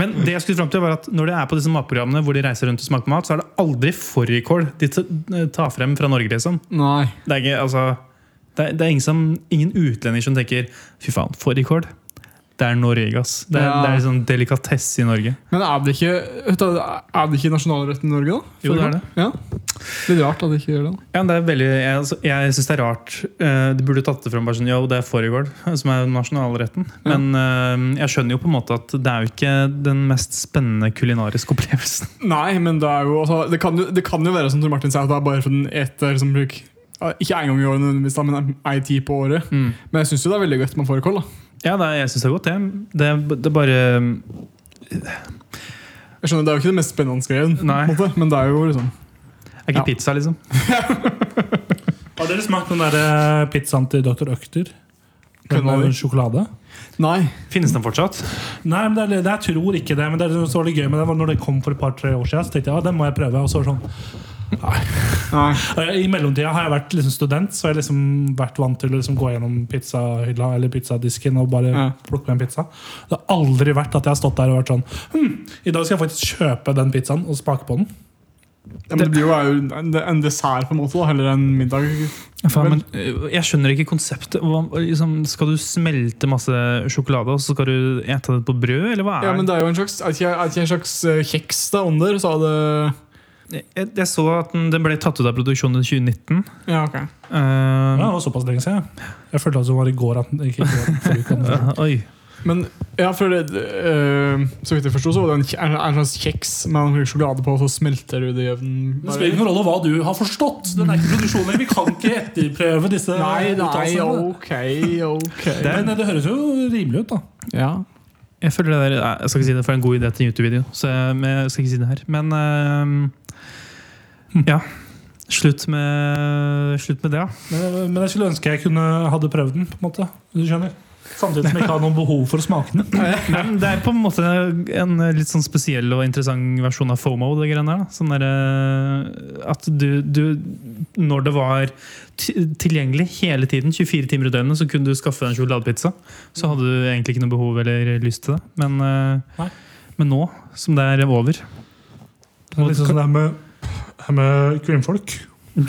S1: Men det jeg skulle frem til var at når det er på disse matprogrammene hvor de reiser rundt og smaker mat, så er det aldri fårikål de ta- tar frem eh, fra Norge. liksom
S3: Nei.
S1: Det er ikke, altså Det er, det er ingen, som, ingen utlendinger som tenker 'fy faen, fårikål'. Det er Norge, ass. Det er,
S3: Ja.
S1: det er sånn delikatesse i Norge.
S3: Men er det ikke, vet du, er det ikke nasjonalretten i Norge, da?
S1: Jo, det er det.
S3: Ja. Litt rart at de ikke gjør det.
S1: Ja, men det er veldig, jeg altså, jeg syns det er rart. Eh, De burde tatt det fram bare sånn Jo, det er fårikål, som er nasjonalretten.
S3: Ja.
S1: Men eh, jeg skjønner jo på en måte at det er jo ikke den mest spennende kulinariske opplevelsen.
S3: Nei, men det, er jo, altså, det, kan jo, det kan jo være som Tor Martin sier, at det er bare for den eter som bruk. Ja, Ikke en gang i året, nødvendigvis, da, men ei tid på året.
S1: Mm.
S3: Men jeg syns jo det er veldig godt med fårikål. da.
S1: Ja, det er, jeg syns det er godt, det. Det, er- det er bare eh,
S3: Jeg skjønner, Det er jo ikke det mest spennende greien, på
S1: Nei.
S3: en måte, men det er jo liksom
S1: Er ikke
S3: Ja.
S1: pizza, liksom.
S2: Har dere smakt den der eh, pizzaen til Dr. Økter? Den
S3: Kødder
S2: med
S3: du?
S2: sjokolade?
S3: Nei.
S1: Finnes den fortsatt?
S2: Nei, men det er, det, jeg tror ikke det. Men det er liksom så var det gøy med det var når det kom for et par-tre år siden. Så tenkte jeg ja, den må jeg prøve. Og så var det sånn
S3: Nei.
S2: Og jeg- I mellomtida har jeg vært liksom student, så jeg har liksom vært vant til å liksom gå gjennom pizzahylla eller pizzadisken og bare
S3: Ja.
S2: plukke med en pizza. Det har aldri vært at jeg har stått der og vært sånn hm, I dag skal jeg faktisk kjøpe den pizzaen og smake på den.
S3: Ja, men det blir jo er jo en, en dessert, på en måte, da, heller enn middag.
S1: Faen,
S3: Men-
S1: men, eh, jeg skjønner ikke konseptet. Hva, liksom, skal du smelte masse sjokolade og så skal du ete det på brød, eller hva er
S3: Ja, men det er jo en slags, er ikke, er ikke en slags eh, kjeks da, under, så er det
S1: det? Jeg, jeg så at den, den ble tatt ut av produksjonen i 2019.
S3: Ja, ok.
S1: Eh,
S2: Ja, det var såpass lenge siden. Jeg følte at det var i går at den ikke i går, forrige uke, men-
S1: eh, oi.
S3: Men ja, for det, eh, så vidt jeg forsto, så var det en, kje- en, en slags kjeks med noe sjokolade på, og så smelter du det i ovnen.
S2: Det spiller ingen rolle hva du har forstått. Den er ikke produksjonen Vi kan ikke etterprøve disse
S3: Nei, nei,
S2: uttalelsene.
S3: ok, ok.
S2: Men eh, det høres jo rimelig ut, da.
S3: ja.
S1: Jeg føler det der, nei, jeg skal ikke si det for en god idé til en YouTube-video, så jeg, men jeg skal ikke si det her. Men eh, ja. Slutt med, slutt med det, ja.
S2: Men, men jeg skulle ønske jeg kunne hadde prøvd den. på en måte Hvis du skjønner Samtidig som jeg ikke har noe behov for å smake den.
S1: Men det er på en måte en litt sånn spesiell og interessant versjon av FOMO. Det greiene der, da. Sånn der, eh, at du, du Når det var ti- tilgjengelig hele tiden, 24 timer i døgnet, så kunne du skaffe deg en sjokoladepizza. Så hadde du egentlig ikke noe behov eller lyst til det. Men, eh,
S2: Nei.
S1: men nå som det er over
S2: Det er litt sånn som det her med, her med kvinnfolk. Nei,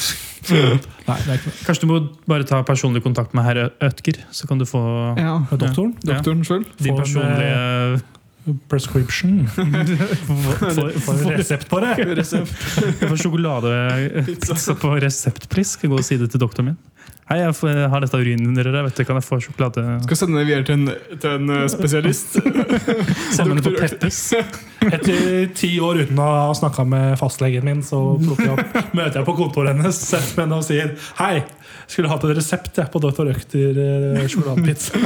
S2: det er ikke noe.
S1: Kanskje du må bare ta personlig kontakt med herr Ødger, så kan du få
S3: ja.
S2: Med doktoren.
S3: Doktoren sjøl?
S1: din
S2: Få en, eh,
S1: personlige
S2: Prescription.
S1: Få-
S2: Får
S1: få-
S2: resept på det.
S1: Jeg får sjokoladepizza på reseptpris. Skal gå og si det til doktoren min. Hei, jeg får- jeg har dette urinrøret. Vet du, kan jeg få sjokolade
S3: Skal sende det videre til en, til en eh, spesialist.
S1: Send den på
S3: Doktor-
S1: Peppes.
S2: Etter ti år uten å ha snakka med fastlegen min, så plukker jeg opp, møter jeg på kontoret hennes setter meg ned og sier Hei, skulle hatt en resept jeg, på Dr. Økter eh, sjokoladepizza.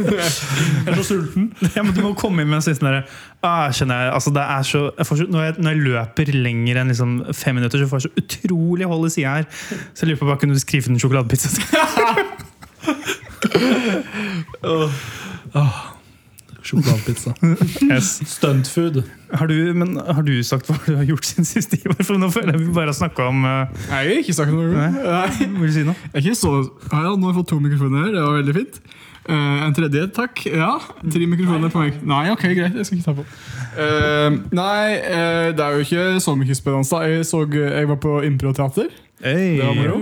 S2: Jeg er så sulten.
S1: Ja, men du må komme inn med en sånn derre ah, kjenner jeg, altså det er så, jeg får så, når, jeg, når jeg løper lenger enn liksom fem minutter, så får jeg så utrolig hold i sida her. Så jeg lurer på bare kunne du skrive den sjokoladepizza til
S2: Sjokoladepizza.
S1: yes.
S2: Stuntfood.
S1: har, du- men har du sagt hva du har gjort siden sist? Ivar? For nå føler jeg vi bare har snakka om eh,
S3: Nei, jeg har ikke sagt noe.
S1: Nei.
S3: Nei.
S1: Vil du si noe?
S3: Jeg er ikke så... Ja, ja, nå har jeg fått to mikrofoner her. Det var veldig fint. Eh, en tredje, takk. Ja, Tre mikrofoner på meg. Nei, ok, greit. Jeg skal ikke ta på. Eh, nei, eh, det er jo ikke så mye spennende. da. Jeg, så, jeg var på improteater. Det var moro.
S2: Og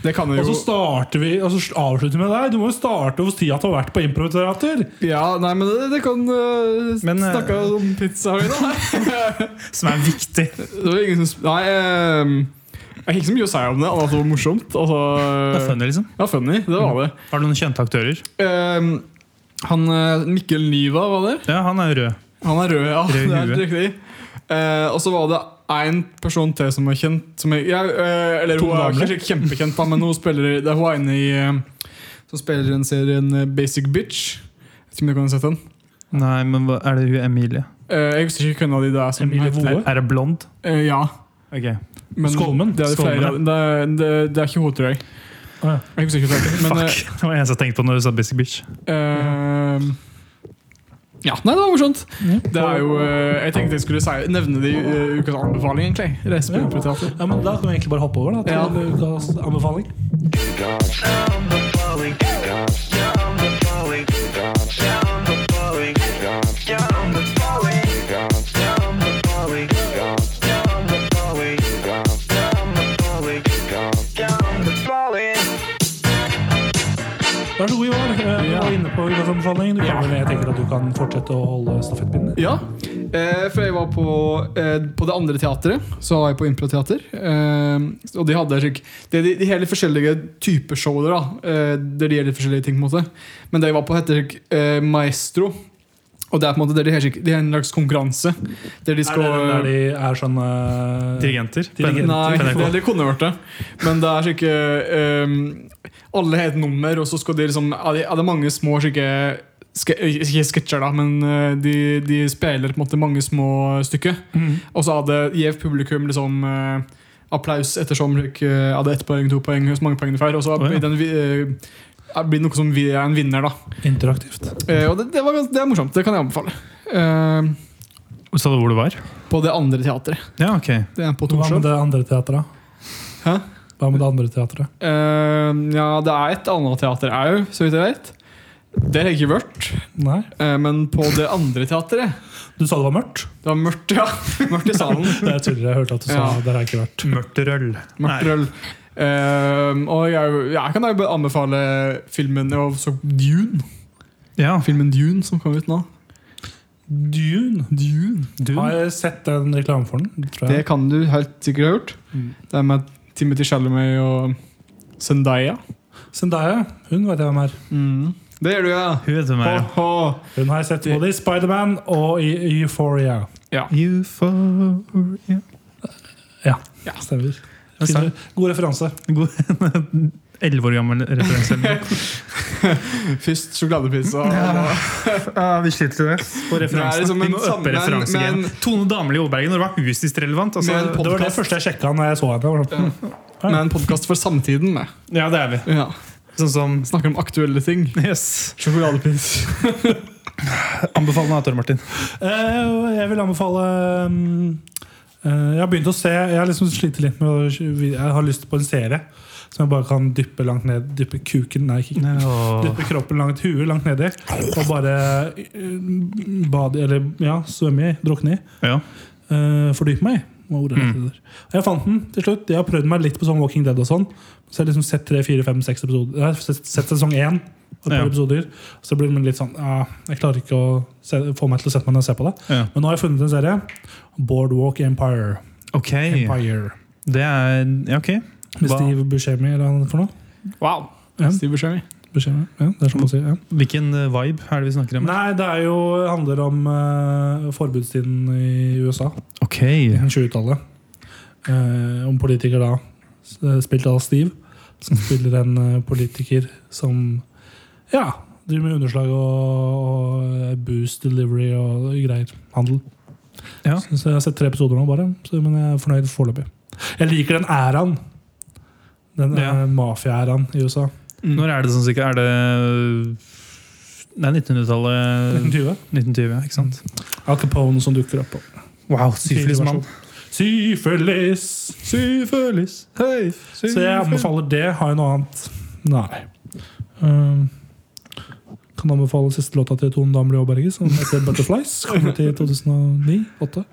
S3: Det kan jeg
S2: så
S3: jo
S2: starter vi Og så avslutter vi med deg. Du må jo starte hos tida til å ha vært på improteater.
S3: Ja, nei, men det, det kan uh,
S1: Men, eh,
S3: Snakke om pizza her i dag.
S1: Som er viktig.
S3: Det var ingen som sp- Nei, eh, jeg har ikke så mye å si om det, annet enn at det var morsomt. Altså,
S1: Det er funny, liksom.
S3: Ja, funny. Det var det.
S1: Har du noen kjente aktører?
S3: Eh, han eh, Mikkel Niva var der.
S1: Ja, han er jo rød.
S3: Han er rød, ja.
S1: Rød i
S3: det er
S1: huet.
S3: helt riktig. Eh, og så var det én person til som er kjent. Som jeg, ja, eh, eller
S1: To
S3: hun er
S1: damer.
S3: kanskje ikke kjempekjent, da, men hun spiller, i- det er hun ene i, eh, som spiller i den serien eh, Basic Bitch. Jeg vet ikke om du kan ha sett den.
S1: Nei, men hva, er det hun Emilie?
S3: Eh, jeg husker ikke hvem av de det er som
S2: Emilie
S3: heter
S1: Er,
S2: Voe.
S1: er det blond?
S3: Eh, ja.
S1: Ok.
S3: Men
S2: Skålmen?
S3: Det er, det flere, av-
S1: Skålmen,
S3: det, er- det, det er ikke hun, tror jeg.
S2: Å, ja.
S3: Jeg husker ikke hva det heter, men,
S1: Fuck, det var det eneste jeg tenkte på når du sa Basic Bitch.
S3: eh, eh, ja, nei, det var morsomt.
S2: Ja.
S3: Det er jo, eh, jeg tenkte jeg skulle si, nevne det i eh, ukas anbefaling, egentlig. Reise på
S2: Ja.
S3: improteater.
S2: Ja, men Da kan vi egentlig bare hoppe over da, til
S3: Ja.
S2: ukas anbefaling.
S4: Falling.
S2: Vær så god, Ivar. Eh, Du
S3: Ja.
S2: var inne på ukesanbefaling. Du kan vel, jeg tenker at du kan fortsette å holde stafettpinnen.
S3: Ja, eh, for jeg var på, eh, på det andre teatret. Så var jeg på improteater. Eh, og de hadde slik Det er de, de hele forskjellige typer show der, da. Eh, der de gjør litt forskjellige ting. på en måte Men det jeg var på, heter slik, eh, Maestro. Og det er på en måte der de har slik- de har en slags konkurranse. Der de skal
S2: Er det den der de er sånn eh,
S1: Dirigenter?
S2: Dirigenter.
S3: Nei,
S1: På NRK.
S3: det, det kunne vært det. Men det er slike um, Alle har et nummer, og så skal de liksom Er det, er det mange små slike ske, Ikke sketsjer, da, men eh, de, de spiller på en måte mange små stykker.
S2: Mhm.
S3: Og så hadde gjev publikum liksom eh, applaus ettersom dere ikke hadde ett poeng, to poeng, så mange poeng du får. Og så
S1: Å, ja.
S3: blir det en vi- eh, blir det noe som vi er en vinner, da.
S2: Interaktivt.
S3: Eh, og det, det, var, gans- det er morsomt. Det kan jeg anbefale. Eh,
S1: Sa du hvor det var?
S3: på det andre teatret.
S1: Ja, ok.
S3: Det er på
S2: Hva
S3: Torshov.
S2: med det andre teatret?
S3: Hæ?
S2: Hva med det andre teatret?
S3: Eh, ja, det er et annet teater òg, så vidt jeg vet. Det har jeg ikke vært.
S2: Nei?
S3: eh, men på det andre teateret
S2: Du sa det var mørkt?
S3: Det var mørkt, ja. Mørkt i salen.
S2: Det er tuller jeg hørte at du sa.
S3: Ja.
S2: Det har jeg ikke vært.
S1: Mørkt røll.
S3: Mørkt røll. Eh, og jeg, jeg kan jo anbefale filmen jeg så Dune.
S1: Ja.
S3: Filmen Dune som kom ut nå.
S2: Dune.
S3: Dune.
S1: Du?
S2: Har jeg sett en reklame for den? Tror
S3: Det
S2: jeg.
S3: kan du helt sikkert ha gjort.
S2: Mm.
S3: Det er med Timothy Chalamet og Zendaya.
S2: Zendaya, hun vet jeg hvem er.
S3: Det gjør du, ja.
S1: Hun heter
S3: Ho,
S1: meg.
S3: ho.
S2: Hun har jeg sett både i Spiderman og i Euphoria.
S1: Euphoria.
S2: Ja,
S3: Ja.
S2: stemmer.
S1: Jeg sa-
S2: Fin, god referanse.
S1: Elleve år gammel referanse.
S3: Først sjokoladepizza. og-
S1: vi sliter med det. På
S3: Det er
S1: referansen.
S3: liksom
S1: Vi
S3: en
S1: må øppe
S3: sammen-
S1: referansegamet.
S3: men-
S1: Tone Damli Aalbergen, når var hun sist relevant? Altså,
S3: Men
S2: Det var det
S3: podcast.
S2: første jeg sjekka når jeg så henne. Jeg var sånn,
S3: Med en podkast for samtiden. Med.
S1: ja, det er vi.
S3: Ja.
S1: Sånn som
S3: Snakker om aktuelle ting.
S1: Yes.
S3: Sjokoladepins.
S1: Anbefalende av Tor Martin.
S2: Eh, Jeg vil anbefale mm, eh, Jeg har begynt å se Jeg har liksom slitt litt med å, Jeg har lyst på en serie som jeg bare kan dyppe langt ned. Dyppe kuken, nei, ikke Dyppe kroppen langt, huet langt nedi og bare eh, bade, eller ja, svømme i, drukne i.
S1: Ja.
S2: Eh, fordype meg i. var ordet jeg
S1: Mm.
S2: lette etter. Og jeg fant den til slutt. Jeg har prøvd meg litt på sånn Walking Dead og sånn. Så jeg har liksom sett tre, fire, fem, seks episoder. Jeg har sett, sett sesong én. Og et par
S1: Ja.
S2: episoder. Så blir det litt sånn ja, Jeg klarer ikke å se, få meg til å sette meg ned og se på det.
S1: ja.
S2: Men nå har jeg funnet en serie. Boardwalk Empire.
S1: Ok.
S2: Empire.
S1: Det er Ja, ok.
S2: Med
S1: Hva-
S2: Steve Buscemi eller hva er det for noe.
S3: Wow.
S2: Ja.
S3: Steve Buscemi.
S2: Buscemi. Ja, det er sånn man sier. Ja.
S1: Hvilken eh, vibe er det vi snakker om?
S2: Nei, det er jo, handler om eh, forbudstiden i USA.
S1: Ok.
S2: 1920-tallet. Eh, om politiker da, s- spilt av Steve, som spiller en eh, politiker som ja, driver med underslag og, og boost delivery og greier. Handel.
S1: Ja.
S2: Så, så jeg har sett tre episoder nå, bare, så, men jeg er fornøyd foreløpig. Jeg liker den æraen. Den
S1: Ja.
S2: eh, mafia-æraen i USA.
S1: Når er det sånn sikkert? Er det Det er 1900-tallet.
S2: 1920.
S1: 1920, ja, ikke sant?
S2: Eh, Al Capone som dukker opp. og-
S1: Wow, syfilismann.
S2: Syfilis!
S1: Syfilis, hei, syfilis.
S2: Så jeg anbefaler det. Har jeg noe annet? Nei. Um, kan anbefale siste låta til Tone Damli Aaberge, som heter 'Butterflies'. Kom ut i 2009-2008.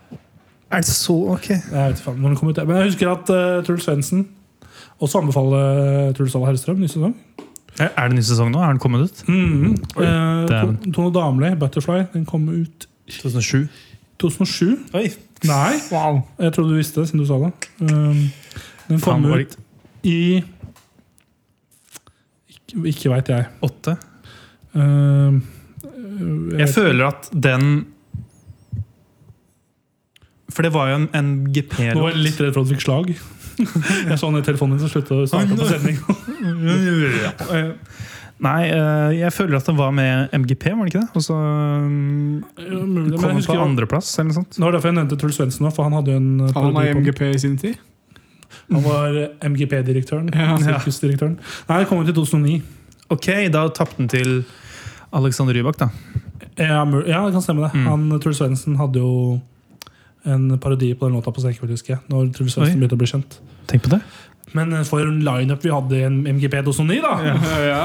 S1: Er det så ok?
S2: Jeg vet ikke faen når den kom ut. jeg. Men jeg husker at eh, Truls Svendsen også anbefaler eh, Truls Alle Hellstrøm. Ny sesong.
S1: Er er det ny sesong nå? Er den kommet ut? Oi,
S2: Eh,
S1: damn.
S2: Ton- Tone Damli, 'Butterfly', den kom ut
S1: 2007.
S2: 2007.
S1: Oi,
S2: Nei,
S3: Wow.
S2: jeg trodde du visste det, siden du sa det. Um, den kom
S1: faen var
S2: ut
S1: det
S2: i Ikke, ikke veit jeg.
S1: åtte?
S2: Um,
S1: Jeg føler at den For det var jo en, en
S2: Nå var jeg
S1: GP-låt.
S2: litt redd for at du fikk slag. Jeg så han i telefonen din som sluttet å starte på sending.
S1: Eh, Nei, eh, jeg føler at den var med MGP, var den ikke det? Og så um, kom
S2: Men jeg
S1: den på
S2: husker han,
S1: andreplass, eller noe sånt.
S2: det var derfor jeg nevnte Truls Svendsen nå, for han hadde jo en eh,
S3: Han var
S2: parodi
S3: med i
S2: på-
S3: MGP i sin tid.
S2: Han var eh, MGP-direktøren.
S3: Ja.
S2: Sirkusdirektøren. Nei, det kom ut i 2009.
S1: Ok, da tapte den til Alexander Rybak, da.
S2: Ja, mul- ja, det kan stemme det.
S1: Mm.
S2: Han, Truls Svendsen hadde jo en parodi på den låta på Senkveld, husker jeg. Når Truls
S1: Oi.
S2: Svendsen begynte å bli kjent.
S1: Tenk på det.
S2: Men eh, for en lineup vi hadde i en MGP 2009, da!
S3: ja.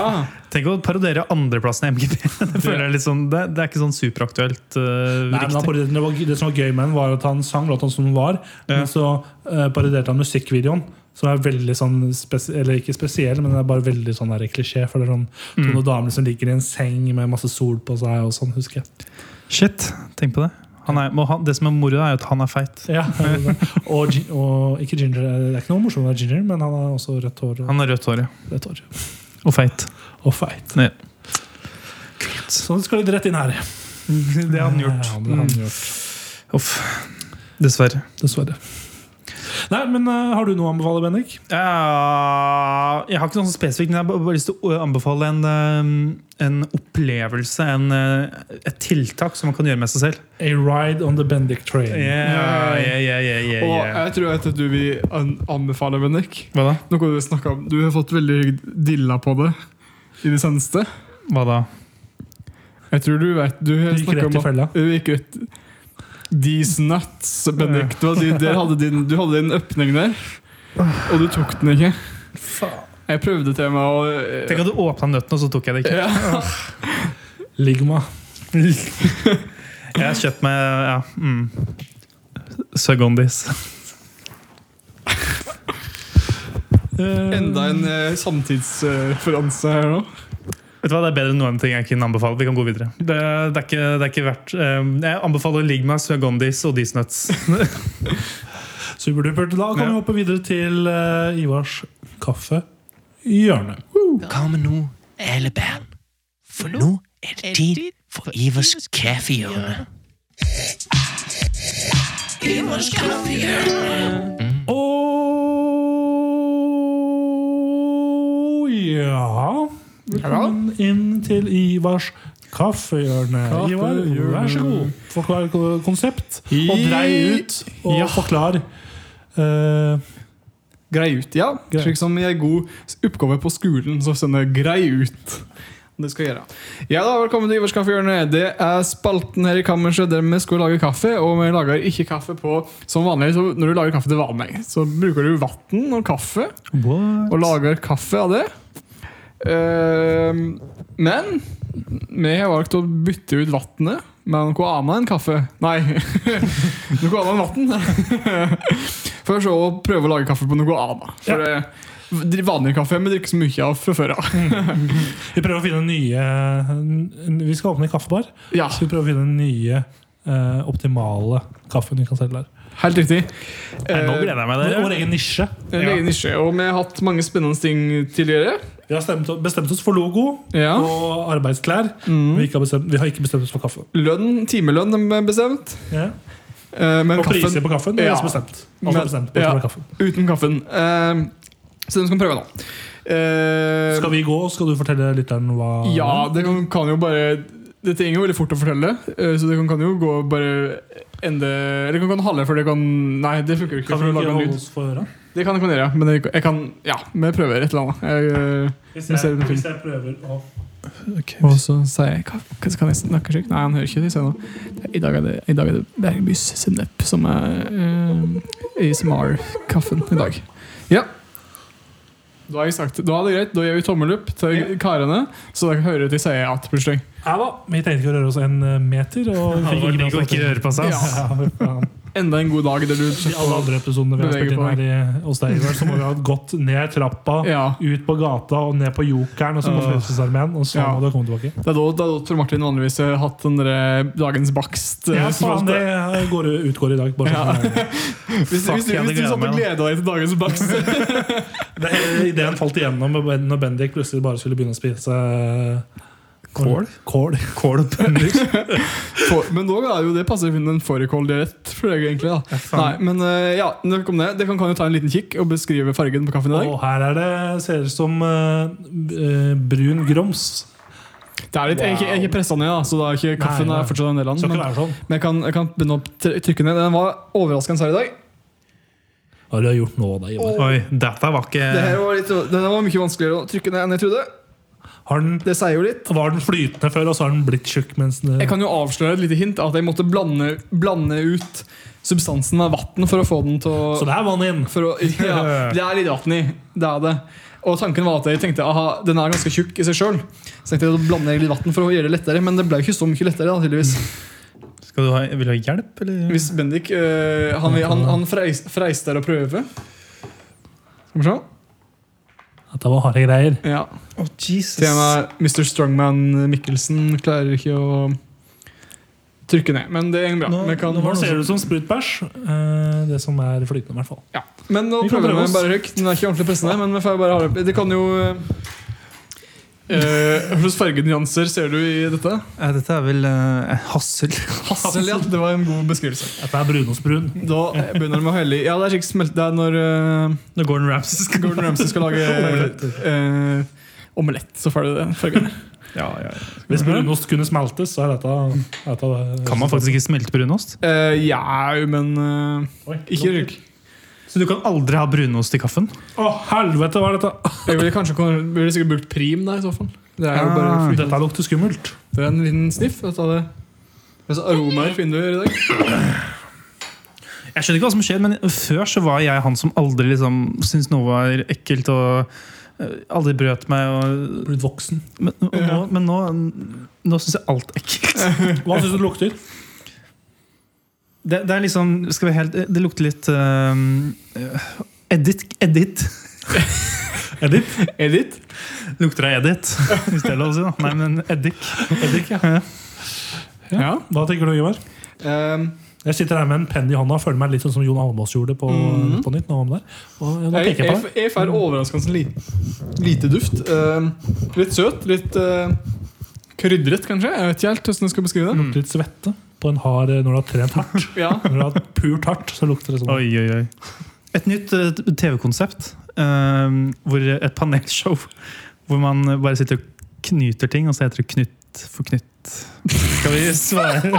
S1: Tenk å parodere andreplassen i MGP. Det, føler jeg litt sånn, det, det er ikke sånn superaktuelt. eh,
S2: Nei, men han
S1: riktig.
S2: parodierte- det, var, det som var gøy med den, var at han sang låta som den var,
S1: Ja.
S2: men så eh, parodierte han musikkvideoen Som er veldig sånn spes Eller ikke spesiell, men den er bare veldig sånn der klisjé. For det er sånn to
S1: Mm.
S2: noen damer som ligger i en seng med masse sol på seg, og sånn, husker jeg.
S1: Shit, tenk på det. Han er, må han, det som er moro, er jo at han er feit.
S2: Ja, og, gi- og ikke ginger. eh, Det er ikke noe morsomt med ginger, men han har også rødt hår og
S1: Han har rødt hår ja.
S2: rødt hår.
S1: og feit.
S2: Og feit.
S1: Ja.
S2: Så skal litt rett inn her.
S1: Det har han gjort. Mm.
S2: Ja, det har han gjort.
S1: Uff. Dessverre.
S2: Dessverre. Nei, men eh, har du noe å anbefale, Bendik?
S1: Ja, jeg har ikke noe sånn spesifikt, men jeg har bare- bare lyst til å anbefale en, eh, en opplevelse. En, eh, et tiltak som man kan gjøre med seg selv.
S2: A ride on the Bendik train.
S1: Yeah, yeah, yeah, yeah, yeah,
S3: Og
S1: yeah.
S3: jeg tror jeg vet at du vil an- anbefale, Bendik.
S1: Hva da?
S3: Noe du snakket om. Du har fått veldig dilla på det i det seneste.
S1: Hva da?
S3: Jeg tror du vet Du har
S2: Du gikk
S3: snakket
S2: rett
S3: om
S2: i
S3: at-
S2: fella.
S3: Du gikk rett These nuts, Bendik. Du hadde, der hadde din, du hadde din øpning der, og du tok den ikke. Jeg prøvde til meg å
S1: Tenk at du åpna nøtten, og så tok jeg det ikke.
S3: ja.
S2: Ligma.
S1: Jeg har kjøpt meg ja, mm. Sugondis.
S2: Eh,
S3: Enda en eh, samtidsreferanse her nå.
S1: Vet du hva, Det er bedre enn noen ting jeg kunne anbefale. Vi kan gå videre. Det, det, er, ikke, det er ikke verdt eh, Jeg anbefaler Ligma, Sugondis og Disnuts.
S2: Superdupert. Da kan
S1: Ja.
S2: vi hoppe videre til eh, Ivars kaffe i hjørnet.
S4: Kom nå, alle barn. For nå er det tid for Ivers kaffehjørne. Ivers kaffehjørne.
S2: Og ja Velkommen inn til Ivars kaffehjørne. Ivar,
S3: Kaffehjørne.
S2: vær så god. Forklar ko- konsept, og
S3: I-
S2: drei ut, og
S3: Ja.
S2: forklar. Eh,
S3: Grei ut, ja.
S2: Grei.
S3: Slik som i en god oppgave på skolen, så sender jeg grei ut. Det skal jeg gjøre. Ja da, Velkommen til Ivers kaffehjørne. Det er spalten her i kammerset der vi skal lage kaffe. Og vi lager ikke kaffe på som vanlig. Så når du lager kaffe til vanlig, så bruker du vann og kaffe. Og lager kaffe av det. Ehm, men vi har valgt å bytte ut vannet med noe annet enn kaffe. Nei, noe annet enn vann. For så å prøve å lage kaffe på noe annet. For det, vanlig kaffe vi drikker så mye av fra før av.
S2: vi prøver å finne nye n- n- Vi skal åpne en kaffebar.
S3: Ja,
S2: Så vi prøver å finne nye eh, optimale kaffen vi kan selge der.
S3: helt riktig.
S1: Nei, nå
S3: Eh,
S1: gleder jeg meg.
S2: Vår vår
S1: Dere.
S2: egen nisje.
S3: en egen nisje. Og vi har hatt mange spennende ting tidligere.
S2: Vi har stemt, bestemt oss for logo
S3: Ja.
S2: og arbeidsklær.
S3: Mm.
S2: Vi, ikke har bestemt, vi har ikke bestemt oss for kaffe.
S3: Lønn, timelønn er bestemt.
S2: Ja.
S3: Eh, men
S2: Og priser
S3: kaffen,
S2: på kaffen det er
S3: Ja.
S2: også bestemt.
S3: Men-
S2: Også bestemt på
S3: ja.
S2: ja. kaffen.
S3: uten kaffen. Eh, så den skal vi prøve nå. Eh,
S2: Skal vi gå, skal du fortelle lytteren hva
S3: Ja, det kan, kan jo bare Det trenger jo veldig fort å fortelle, eh, så det kan, kan jo gå bare ende Eller det kan gå halve, for det kan Nei, det funker jo ikke.
S2: Kan
S3: for
S2: vi
S3: å
S2: ikke
S3: lage en
S2: holde
S3: lyd.
S2: oss for øra?
S3: Det kan jeg kan gjøre, men jeg, jeg kan Ja, men jeg prøver et eller annet. Jeg,
S2: Hvis
S3: Vi ser
S2: jeg,
S3: det på film.
S2: hvis jeg prøver å
S3: og så sier jeg hva, hva Kan jeg snakke slik? Nei, han hører ikke. det, sier han. Det er- I dag er det, i dag er det Bergbys sennep som er eh, ASMR-kaffen i dag. Ja. Da har jeg sagt det. Da er det greit. Da gir vi tommel opp til karene, så dere hører at de sier at plutselig.
S2: Ja da, vi tenkte ikke å røre oss en eh, meter. Og vi fikk
S1: Halvor
S2: ikke med
S1: liker å
S2: oss
S1: ikke
S2: alt.
S1: røre på seg. ass.
S2: Ja, fy faen.
S3: Enda en god dag der du
S2: I alle andre episodene vi har spilt
S3: Beveger
S2: inn
S3: på
S2: her i, hos deg, Ivar, så må vi ha gått ned trappa,
S3: Ja.
S2: ut på gata og ned på Jokeren, og så på
S3: Åh.
S2: Frelsesarmeen, og så
S3: Ja.
S2: må du ha kommet tilbake.
S3: Det er da, det er da Tor Martin vanligvis har hatt den der eh, dagens bakst. eh,
S2: Ja, faen,
S3: spalte.
S2: det går, utgår i dag. Bare
S3: Ja.
S2: sånn.
S3: hvis,
S1: Fuck,
S3: hvis, du-
S1: jeg
S3: hvis du
S1: gleder
S3: satt og
S1: meg,
S3: gleda deg til dagens bakst
S2: Det, hele ideen falt igjennom når Bendik plutselig bare skulle begynne å spise eh,
S1: Kål?
S2: Kål.
S1: Kål og bønner.
S3: For- Men nå er jo det passer fint en fårikåldialett for deg, egentlig. da Nei, men eh, ja, nok om det. Dere kan, kan jo ta en liten kikk og beskrive fargen på kaffen i dag.
S2: Og her er det, ser det ut som eh, eh, brun grums.
S3: Det er litt, Jeg er ikke, jeg er ikke pressa ned, da, så det er ikke, kaffen
S2: Nei, nei.
S3: er fortsatt en del av
S2: Skal
S3: den.
S2: ikke
S3: Men,
S2: være sånn.
S3: men jeg, kan, jeg kan begynne å tr- trykke ned. Den var overraskende sær i dag.
S2: Hva har du gjort nå, da, Ivar?
S1: Oi, dette var ikke
S3: Det
S2: Eh.
S3: her var, litt, den var mye vanskeligere å trykke ned enn jeg trodde.
S2: Har den,
S3: Det sier jo litt.
S2: var den flytende før, og så har den blitt tjukk? Mens den,
S3: Jeg kan jo avsløre et lite hint at jeg måtte blande, blande ut substansen med vann for å få den til
S2: så
S3: å,
S2: det er vann inn.
S3: for å ja, Det er litt vann i. Det er det. Og tanken var at jeg tenkte aha, den er ganske tjukk i seg sjøl. Så tenkte jeg å blande litt vann for å gjøre det lettere, men det ble jo ikke så mye lettere. da, tydeligvis
S1: Skal du ha, Vil du ha hjelp, eller?
S3: eh, Hvis Bendik øh, han, han, han freis, freister å prøve. Skal vi se.
S2: Dette var harde greier.
S3: Ja.
S1: Oh, Jesus.
S3: Temaet Mr. Strongman Mikkelsen klarer ikke å trykke ned. Men det går bra.
S2: Nå,
S3: Vi kan-
S2: nå ser det ut som sprutbæsj. eh, det som er flytende, i hvert fall.
S3: Ja. Men nå
S2: Vi kan
S3: prøver
S2: prøve
S3: vi
S2: oss.
S3: bare høyt. Den er ikke ordentlig pressende, men vi får bare ha det Det kan jo eh, Hva slags fargenyanser ser du i dette?
S1: Eh, dette er vel eh, hassel.
S3: Hassel, ja. Det var en god beskrivelse.
S2: Dette er brunostbrun.
S3: Da begynner de å helle i Ja, det er slik smelt Det er når eh,
S1: Når Gordon Ramsay skal
S3: Gordon Ramsay skal lage eh, omelett, så får du det fargen.
S1: ja, ja, ja.
S2: Hvis brunost kunne smeltes, så er dette, dette
S1: Kan man faktisk ikke smelte brunost?
S3: Eh, ja, men eh,
S2: Oi,
S3: ikke
S2: nå-
S3: røyk.
S1: Så du kan aldri ha brunost i kaffen?
S2: Å, helvete, hva er dette?
S3: Jeg ville kanskje ville sikkert brukt prim der, i så fall. Det er jo bare
S1: Ah.
S2: Dette lukter skummelt.
S3: Det er en liten sniff. Vet du, av det. Men så aromaer finner du i dag.
S1: Jeg skjønner ikke hva som skjer, men før så var jeg han som aldri liksom syntes noe var ekkelt og eh, aldri brøt meg. Og,
S2: Blitt voksen.
S1: men, og nå,
S3: Ja.
S1: men nå, nå syns jeg alt er ekkelt.
S2: Hva syns du det lukter?
S1: Det, det er liksom skal vi helt, Det lukter litt eh, Edit. Edit. edit?
S3: Edith?
S1: Lukter av edit, hvis det er lov å si. da Nei, men eddik.
S2: Eddik, ja.
S1: Ja.
S3: Ja.
S2: Hva tenker du, Ivar?
S3: Ehm,
S2: Jeg sitter her med en penn i hånda og føler meg litt sånn som Jon Almaas gjorde på,
S3: Mhm.
S2: på nytt. Nå om der. Og nå
S3: jeg,
S2: peker jeg
S3: jeg,
S2: på deg.
S3: jeg får overraskende li, lite duft. Ehm, litt søt. Litt eh, krydret, kanskje. Jeg vet ikke helt hvordan jeg skal beskrive det.
S2: Lukter litt svette på en hard eh, når du har trent hardt.
S3: Ja.
S2: Når du har pult hardt, så lukter det sånn.
S1: Oi, oi, oi. Et nytt eh, TV-konsept. eh, hvor et panelshow hvor man bare sitter og knyter ting, og så heter det Knut for Knut. Skal vi svære?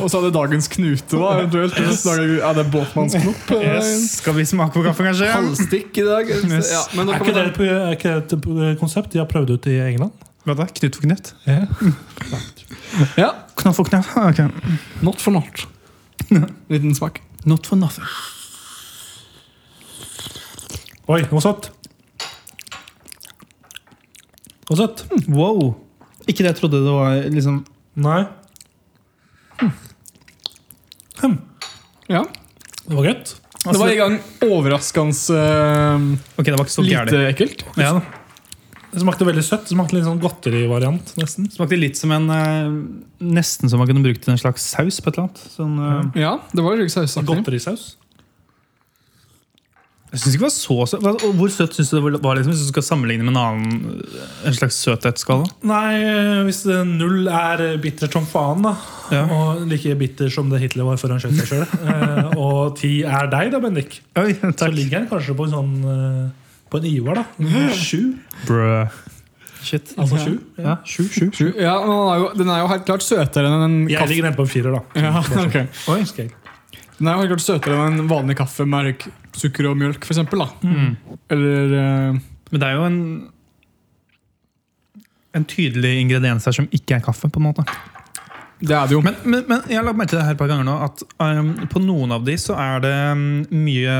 S3: Og så er det dagens knute, da, eventuelt.
S1: Yes.
S3: Dagen, er det båtmannsknopp? eh,
S1: Yes. Skal vi smake på kaffe, kanskje?
S3: Halvstikk i dag.
S1: Yes.
S3: Ja, men da
S2: Er
S3: kan
S2: ikke, det,
S3: man,
S2: et- er ikke det et eh, konsept de har prøvd ut i England?
S1: Hva da? Knut for Knut?
S3: ja,
S1: Knaff for knaff? Ah, Ok.
S3: Not for not. Liten smak.
S1: Not for nothing.
S2: Oi, noe søtt. Noe søtt. Hm.
S1: Wow. Ikke det jeg trodde det var. liksom
S2: Nei. Hm.
S3: Ja.
S2: Det var godt.
S3: Det var i gang overraskende eh,
S1: Ok, det var ikke så gærent.
S3: lite ekkelt.
S1: Ja, da.
S2: Det smakte veldig søtt. Det smakte litt sånn godterivariant, nesten.
S1: Smakte litt som en eh, Nesten som man kunne brukt til en slags saus på et eller annet. Sånn, eh,
S3: Ja, det var slik sausaktig.
S2: Godterisaus.
S1: Jeg synes ikke det var så søt. Hva- og Hvor søt syns du det var? liksom, Hvis du skal sammenligne med en annen eh, En slags søthetsskala?
S2: Nei, eh, hvis eh, null er eh, bitter som faen, da,
S1: Ja.
S2: og like bitter som det Hitler var før han skjøt seg sjøl, og ti er deg, da, Bendik,
S1: Oi,
S2: så
S1: takk.
S2: ligger han kanskje på en sånn eh, På en Ivar, da. Sju.
S1: Brød. Shit.
S2: Altså sju.
S1: Ja, sju, sju.
S3: Sju. Ja, men den er, jo, den er jo helt klart søtere enn en
S2: Jeg
S3: kaffe.
S2: ligger nede på en firer, da.
S3: Ja, ok.
S2: Oi, skal jeg.
S3: Den er jo helt klart søtere enn en vanlig kaffe med røyk, sukker og mjølk, for eksempel, da.
S1: Mm.
S3: Eller eh,
S1: Men det er jo en en tydelig ingrediens her som ikke er kaffe. på en måte.
S3: Det er det jo.
S1: Men, men, men jeg har lagt merke til det her et par ganger nå, at um, på noen av de så er det um, mye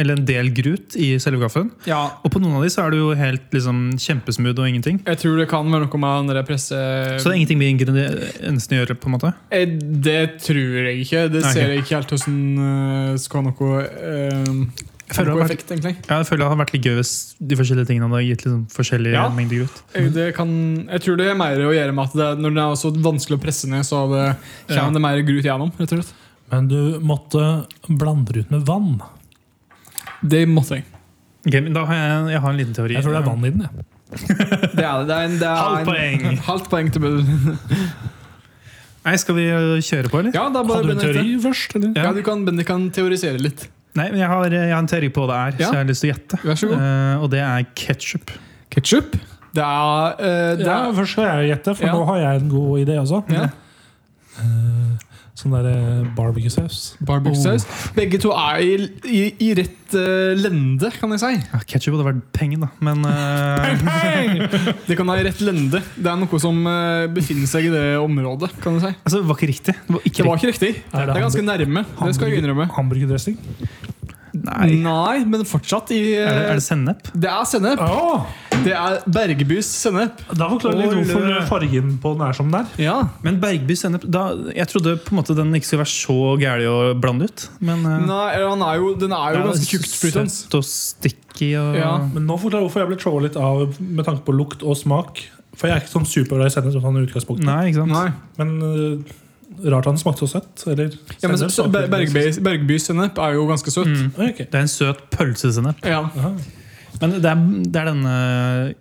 S1: Eller en del grut i selve kaffen.
S3: ja,
S1: Og på noen av de så er det jo helt liksom, kjempesmooth og ingenting.
S3: jeg tror det kan være noe med den der presse...
S1: Så det er ingenting med ingrediensene å gjøre. på en måte.
S3: Eh, Det tror jeg ikke. Det
S1: Nei, ok.
S3: ser jeg ikke helt hvordan eh, skal ha noe eh,
S1: Jeg føler, det hadde
S3: noe
S1: vært,
S3: effekt, egentlig.
S1: ja, jeg føler det hadde vært litt gøy hvis de forskjellige tingene hadde gitt liksom, forskjellig
S3: Ja.
S1: mengde grut.
S3: Eh, Det kan, jeg tror det er mer å gjøre med at det, er- når det er så vanskelig å presse ned, så er det, kommer
S1: Ja.
S3: det mer grut gjennom. rett og slett.
S2: Men du måtte blande det ut med vann.
S3: Det måtte jeg.
S1: Ok, men da har jeg, jeg har en liten teori.
S2: Jeg tror det er vann i den. jeg.
S3: Det er det. det, er en, det er
S1: Halvt
S3: en-
S1: poeng.
S3: Halvt poeng til bø-
S1: Nei, Skal vi øh, kjøre på, eller?
S3: Ja, da bare
S2: Hadde du en
S3: Benedikte.
S2: teori først? Eller?
S1: Ja.
S3: Ja, du kan, Bendik kan teorisere litt.
S1: Nei, men jeg har, øh, jeg har en teori på hva det er,
S3: Ja.
S1: så jeg har lyst til å gjette.
S3: Vær så god.
S1: Eh, og det er ketsjup.
S3: Ketchup? Det er, eh, det
S2: Ja,
S3: er
S2: først skal jeg gjette, for
S3: Ja.
S2: nå har jeg en god idé også.
S3: Ja.
S2: Eh, Sånn der eh, barbecue-saus.
S3: Barbecue-saus. Begge to er i, i, i rett eh, lende, kan jeg si.
S1: Ja, ketsjup hadde vært penger, da. Men eh,
S3: Det kan være i rett lende. Det er noe som eh, befinner seg i det området. kan jeg si.
S1: altså, det var ikke riktig. Det var ikke
S3: Det var
S1: riktig.
S3: ikke riktig.
S2: Er det
S3: Det er ganske
S2: hamburg-
S3: nærme. Det skal jeg innrømme.
S2: Hamburgerdressing.
S1: Nei.
S3: Nei, men fortsatt i
S1: Er det,
S3: eh,
S1: er det sennep?
S3: Det er sennep.
S2: Å,
S3: Det er Bergebys sennep.
S2: da forklarer jeg litt
S3: Åh,
S2: hvorfor
S3: lø.
S2: fargen på den er som den er.
S3: Ja.
S1: Men Bergby sennep da, Jeg trodde på en måte den ikke skulle være så gæren å blande ut. Men eh,
S3: Nei, eller han er jo, den er jo
S1: det sånn-
S3: ganske tjukt flytende.
S1: Søtt og sticky og
S3: Ja.
S2: Men nå forklarer jeg hvorfor jeg ble trolla litt av med tanke på lukt og smak. For jeg er ikke sånn superglad i sennep. som han i utgangspunktet.
S1: Nei, ikke sant?
S3: Nei.
S2: Men øh, rart han smakte så søtt. Eller
S3: Ja, men
S2: sennep
S3: så-
S2: smaker
S3: Ber-
S2: ikke
S3: Bergby, Bergebys sennep er jo ganske søtt.
S1: Mm.
S2: så- Ok.
S1: Det er en søt pølsesennep.
S3: Ja.
S2: Aha.
S1: Men det er, det er denne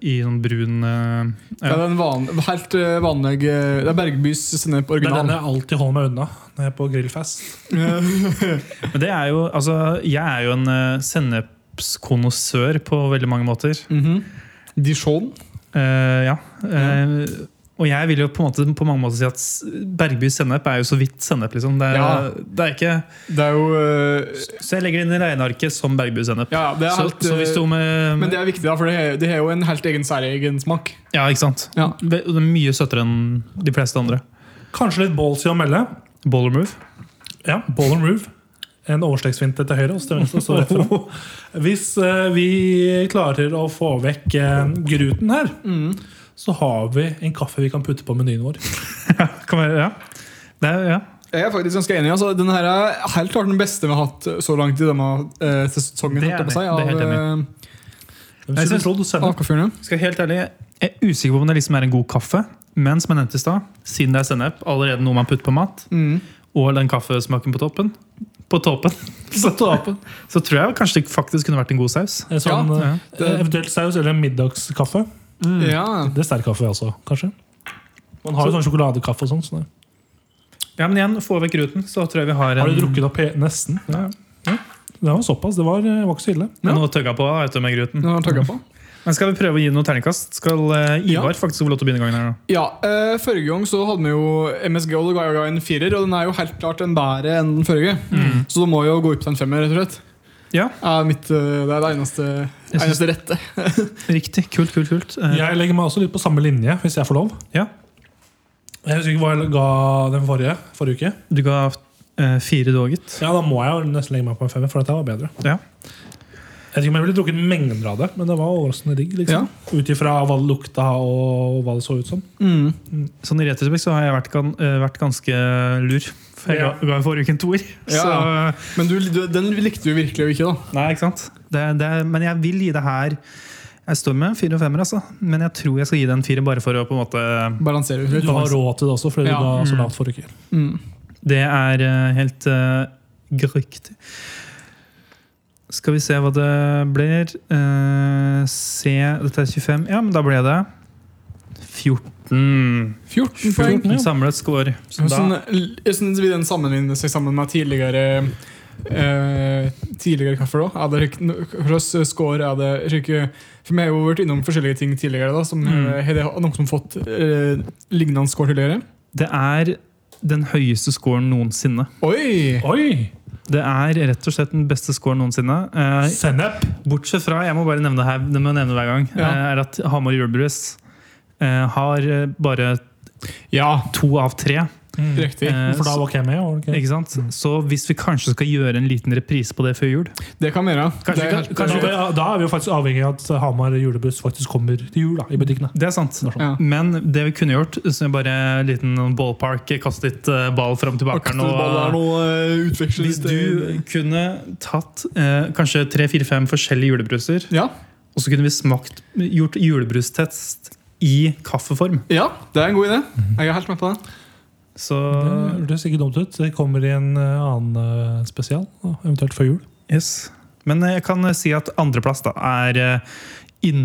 S1: i sånn brun eh,
S3: Det
S1: ja.
S3: er den van, helt eh, vanlige Det er Bergebys sennep
S2: Det er den
S3: original.
S2: jeg alltid holder meg unna når jeg er på grillfest.
S1: Men det er jo Altså, jeg er jo en uh, sennepskonnoissør på veldig mange måter.
S3: Mhm. Dijon.
S1: Eh, ja. Eh, Og jeg vil jo på, en måte, på mange måter si at s- Bergby sennep er jo så vidt sennep, liksom. Det er,
S3: Ja.
S1: det er ikke
S3: Det er jo eh,
S1: Så jeg legger det inn i regnearket som Bergby sennep.
S3: Ja, ja, det
S1: Så,
S3: er helt
S1: så hvis du
S3: eh,
S1: med,
S3: Men det er viktig, da, for det har- det har jo en helt egen særegen smak.
S1: Ja, ikke sant?
S3: Ja.
S1: Ve- Det er mye søtere enn de fleste andre.
S2: Kanskje litt ballsy å melde.
S1: Baller move.
S2: Ja, ball and move. En overstegsfinte til høyre. oss til venstre, så rett frem. Hvis eh, vi klarer å få vekk eh, gruten her,
S1: Mm.
S2: så har vi en kaffe vi kan putte på menyen vår.
S1: Kan være, ja. Det er, ja.
S3: Jeg er faktisk ganske enig. Altså, den her er helt klart den beste vi har hatt så langt i denne eh, sesongen.
S1: Det er
S3: holdt jeg på å eh,
S1: enig. Det er helt
S3: si,
S2: Hvem skulle
S1: synes-
S2: trodd?
S3: av
S2: Sennep.
S3: Akafjørene.
S1: Skal jeg helt ærlig, jeg er usikker på om det liksom er en god kaffe. Men som jeg nevnte i stad, siden det er sennep, allerede noe man putter på mat,
S3: Mm.
S1: og den kaffesmaken på toppen På toppen! Så, så tror jeg kanskje det faktisk kunne vært en god saus.
S2: En sånn,
S1: Ja,
S2: eh, Eventuelt saus eller en middagskaffe.
S1: Mm.
S3: Ja.
S2: Det er sterk kaffe også, kanskje. Man har jo sånn sjokoladekaffe og sånn. Så det-
S1: Ja, Men igjen, få vekk ruten, så tror jeg vi har en
S2: har du drukket opp he- nesten?
S1: Ja.
S2: Det var såpass. Det var, eh, var ikke så ille.
S1: Men noe å tøgge på vet du, med gruten.
S3: Nå har jeg tagget på.
S1: Men skal vi prøve å gi noe terningkast? Skal eh, Ivar faktisk få lov til å begynne gangen her nå?
S3: Ja, eh, Forrige gang så hadde vi jo MSG og det ga jo en firer, og den er jo helt klart en bedre enn den forrige. Så det må jo gå opp til en femmer, rett og slett.
S1: Mm. Ja.
S3: Er mitt, eh, det er det eneste,
S1: Jeg synes-
S3: eneste rette.
S1: Riktig. Kult, kult, kult. Eh,
S2: Jeg legger meg også litt på samme linje, hvis jeg får lov.
S1: Ja.
S2: Jeg husker ikke hva jeg ga den forrige, forrige uke.
S1: Du ga eh, fire doget.
S2: Ja, Da må jeg jo nesten legge meg på en femmer, for dette var bedre.
S1: Ja.
S2: Jeg vet ikke om jeg ville drukket mengden av det, men det var overraskende digg. liksom.
S3: Ja.
S2: Ut ifra hva det lukta og hva det så ut som.
S3: Mm.
S1: Sånn i retrospekt så har jeg vært, gan- eh, vært ganske lur. For jeg
S2: Ja.
S1: ga- ga jo forrige uke en toer.
S3: Ja,
S1: Så
S3: ja. Men du, du, den likte du virkelig ikke, da.
S1: Nei, ikke sant? Det, det, men jeg vil gi det her Jeg står med en fire og femmer, altså. Men jeg tror jeg skal gi det en fire, bare for å på en måte
S3: Balanserer
S2: Du
S3: litt.
S2: har råd til det også, fordi
S3: Ja.
S2: du ga så lavt forrige uke.
S3: Mm.
S1: Det er eh, helt uh, riktig. Skal vi se hva det blir. Eh, C, dette er 25. Ja, men da ble det 14.
S3: 14 poeng. sånn-
S1: Samlet score. Så
S3: Hvordan,
S1: da,
S3: hvordan vil den sammenligne seg sammen med tidligere eh, Tidligere kaffer, da? Er det rik- no- Hvordan score er det rike, For vi har jo vært innom forskjellige ting tidligere. da som,
S1: Mm.
S3: eh, Har det noen som fått eh, lignende score tidligere?
S1: det er den høyeste scoren noensinne.
S3: Oi!
S2: Oi!
S1: Det er rett og slett den beste scoren noensinne. Eh,
S2: Sennep!
S1: Bortsett fra, jeg må bare nevne det her, det må jeg nevne hver gang,
S3: Ja.
S1: eh, er at Hamar Julebrus eh, har eh, bare
S3: Ja,
S1: to av tre.
S3: riktig.
S1: Eh,
S2: For da var ikke jeg med. var det ikke?
S1: Ikke sant? Så hvis vi kanskje skal gjøre en liten reprise på det før jul
S3: Det kan vi gjøre.
S1: Kanskje
S3: Det er
S1: vi kan-
S3: helt-
S2: Da, da er vi jo faktisk avhengig av at Hamar julebuss faktisk kommer til jul da, i butikkene.
S1: Det er sant.
S3: Ja.
S1: Men det vi kunne gjort, så er bare en liten ballpark, kaste litt eh, ball fram og tilbake. her nå.
S3: Akselball er noe eh,
S1: Hvis
S3: utveksling
S1: du kunne tatt eh, kanskje tre-fire-fem forskjellige julebruser,
S3: ja.
S1: og så kunne vi smakt, gjort julebrustest i kaffeform.
S3: ja, det er en god idé.
S1: Mhm.
S3: Jeg er helt med på det.
S1: Så
S2: Det hørtes ikke dumt ut. Det kommer i en eh, annen eh, spesial, da, eventuelt før jul.
S1: Yes. Men eh, jeg kan si at andreplass da er eh,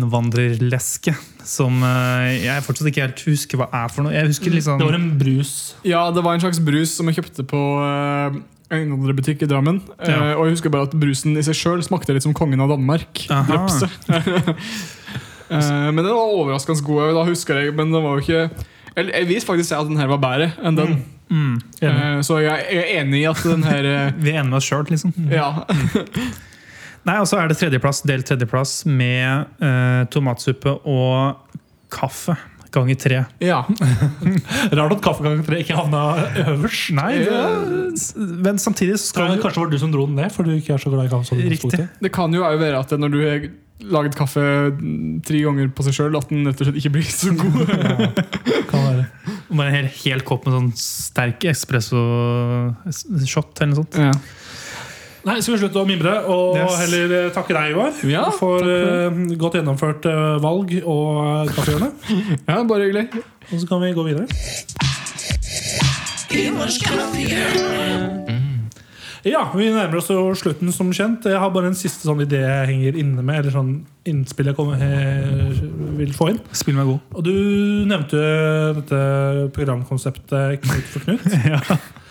S1: innvandrerleske. Som eh, jeg fortsatt ikke helt husker hva er for noe. Jeg husker liksom
S2: Det var en brus.
S3: Ja, det var en slags brus som jeg kjøpte på eh, en innvandrerbutikk i Drammen. Eh,
S1: Ja.
S3: Og jeg husker bare at brusen i seg sjøl smakte litt som kongen av Danmark.
S1: Aha.
S3: Drøpse. Eh, men den var overraskende god. Da husker jeg, men den var jo ikke Eller jeg vil faktisk si at den her var bedre enn den.
S1: mm,
S2: Enig.
S3: Eh, så jeg, jeg er enig i at den her eh,
S1: Vi er enige med oss sjøl, liksom.
S3: Ja.
S1: Nei, Og så er det tredjeplass, delt tredjeplass med eh, tomatsuppe og kaffe. ganger tre.
S3: Ja.
S2: Rart at kaffegangen 3 ikke havna øverst.
S1: Nei, det, men samtidig så skal
S2: Tror jeg
S1: det
S2: kanskje det var du som dro den ned, for du ikke er så glad i kaffe. som du
S1: Riktig.
S2: utgangspunktet.
S3: Det kan jo òg være at når du har laget kaffe tre ganger på seg sjøl, at den rett og slett ikke blir så god.
S2: Kan være.
S1: bare en hel, hel kopp med sånn sterk espresso-shot eller noe sånt.
S3: Ja.
S2: Nei, Skal vi slutte å mimre og
S1: Yes.
S2: heller eh, takke deg, Joar,
S3: Ja,
S2: for, eh, godt gjennomført eh, valg og eh, kaffehjørne?
S3: ja, bare hyggelig.
S2: Og så kan vi gå videre. Mm. Ja, vi nærmer oss jo slutten, som kjent. Jeg har bare en siste sånn idé jeg henger inne med. Eller sånn innspill jeg kommer, eh, vil få inn.
S1: Spill meg god.
S2: Og du nevnte dette programkonseptet Knut for Knut.
S1: Ja,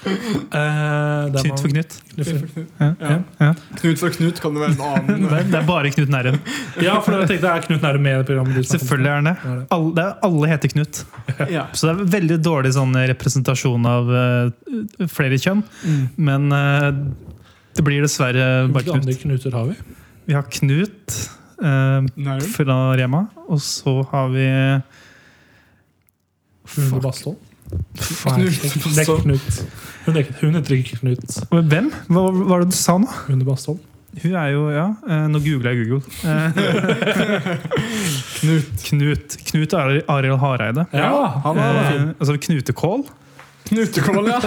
S2: Eh, der
S1: Knut
S2: man-
S1: for Knut.
S3: Ja.
S1: Ja.
S3: Knut for Knut kan det være en annen.
S1: Det er, det er bare Knut Nærum.
S2: Ja, for jeg tenkte, er Knut nærmere med i det programmet? du snakket om?
S1: Selvfølgelig er han det. Alle, det er, alle heter Knut.
S3: Ja.
S1: Så det er veldig dårlig sånn representasjon av eh, flere kjønn. Men eh, det blir dessverre bare
S2: Hvilke andre
S1: Knut.
S2: Knuter har vi?
S1: Vi har Knut eh,
S3: Nærum.
S1: fra Rema, og så har vi
S2: Rune
S1: Fuck,
S2: Bastholm.
S1: faen.
S2: Det er Knut. Hun, er, ikke- hun heter ikke Knut.
S1: Hvem? Hva hva var det du sa nå?
S2: Rune Bastholm.
S1: Hun er jo Ja, eh, nå googla jeg Google. Knut. Knut Knut Ari- Arild Hareide.
S2: Ja,
S3: han er
S1: Eh, altså Knutekål,
S3: Knutekål, ja.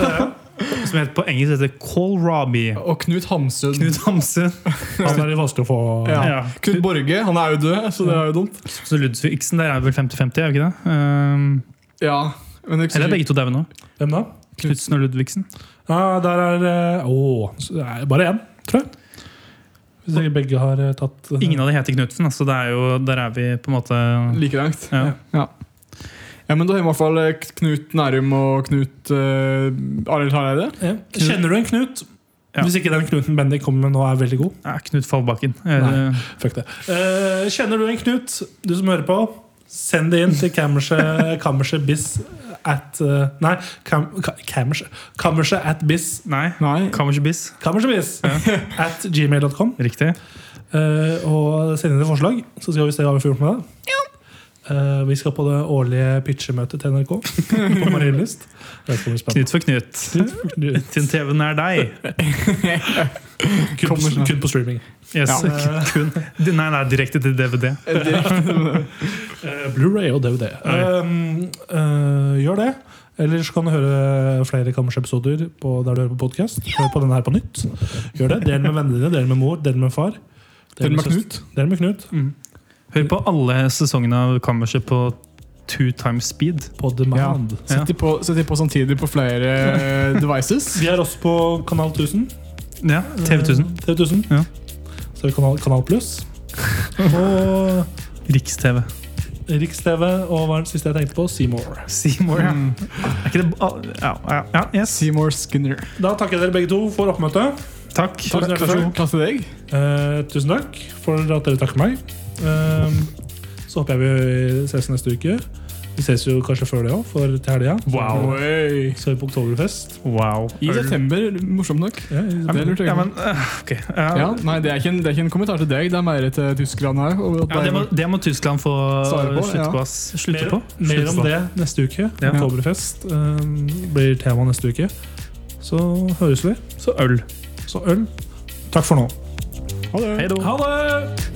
S1: som heter på engelsk heter kålrabi.
S3: Og Knut Hamsun.
S1: Knut Hamsun.
S2: Han er litt vanskelig å få
S3: Ja.
S1: Ja.
S3: Knut Borge, han er jo død, så det er jo dumt.
S1: Så Ludvigsen der er vel 50-50, er det ikke det? Um,
S3: Ja, men det er ikke så
S1: eller er begge to daue nå?
S2: Hvem da?
S1: Knutsen og Ludvigsen.
S2: Ja, der er eh, Å, så det er bare én, tror jeg. Hvis dere begge har eh, tatt eh,
S1: Ingen av de heter Knutsen, så det er jo, der er vi på en måte
S3: like langt.
S1: ja.
S3: Ja, men da har vi i hvert fall eh, Knut Nærum og Knut uh, Arild Hareide.
S2: ja. Kjenner du en Knut?
S1: Ja.
S2: Hvis ikke den Knuten Bendik kommer med nå, er veldig god.
S1: Nei, Knut Fallbakken.
S2: Nei.
S1: Eh,
S2: Fuck det. Eh, kjenner du en Knut, du som hører på? Send det inn til kammerset kammerset bis at eh, Nei, kam, ka- kammerset kammerset at bis.
S1: Nei.
S3: Nei.
S1: Kammersbiss.
S2: Kammerset bis at gmail.com.
S1: Riktig.
S2: Eh, og send inn et forslag, så skal vi se hva vi får gjort med det. Eh, vi skal på det årlige pitchemøtet til NRK på Marienlyst. Det skal bli spennende.
S1: Knut for Knut. Til TV nær deg.
S2: Kun, på- kun på streaming.
S1: Yes.
S2: Ja.
S1: Kun. Nei, nei, direkte til DVD.
S3: Eh, direkte med det.
S2: Eh, Blu-ray og DVD. Um, eh, gjør det. Eller så kan du høre flere Kammers-episoder på der du hører på podkast. Hør på denne her på nytt. Gjør det. Del med vennene dine, del med mor, del med Mm. far.
S3: Del med
S2: søster- Del med Knut.
S1: Hør på alle sesongene av Kammerset på two times speed.
S2: På demand.
S1: Ja.
S3: Sett de på, sett de på samtidig på flere eh, devices.
S2: Vi er også på Kanal 1000.
S1: Ja, TV 1000.
S2: Eh, TV 1000.
S1: Ja.
S2: Så er det Kanal, kanal Pluss. Og
S1: Riks-TV.
S2: Riks-TV. Og hva er det siste jeg tenkte på? Seymour.
S1: Seymour, ja. Mm. Er ikke det ba- Ja, ja, ja yes.
S3: Seymour Skinner.
S2: Da takker jeg dere begge to for oppmøtet.
S1: Takk.
S2: Tusen hjertelig takk.
S3: Takk til deg.
S2: Eh, tusen takk for at dere takker meg. Eh, så håper jeg vi ses neste uke. Vi ses jo kanskje før det òg, for til helga.
S1: Wow.
S3: Oi.
S2: Så er vi på Oktoberfest.
S1: Wow.
S3: I september, morsomt nok.
S2: Ja,
S3: Ja,
S2: i-
S3: Det lurte jeg
S1: Ja,
S3: på.
S1: men, øh, ok. Ja.
S3: Ja, nei, det er, ikke en, det er ikke en kommentar til deg, det er mer til Tyskland her. Og at
S1: Ja, det, må,
S3: er-
S1: det må Tyskland få
S3: Svare på,
S1: slutte
S3: ja.
S1: på. ass. Slutte
S2: mer,
S1: på.
S2: mer
S1: Slutte
S2: om
S1: på.
S2: det neste uke.
S1: Ja.
S2: Oktoberfest eh, blir tema neste uke. Så høres vi.
S1: Så øl.
S2: Så øl. Takk for nå.
S1: Hei da.
S2: Ha det!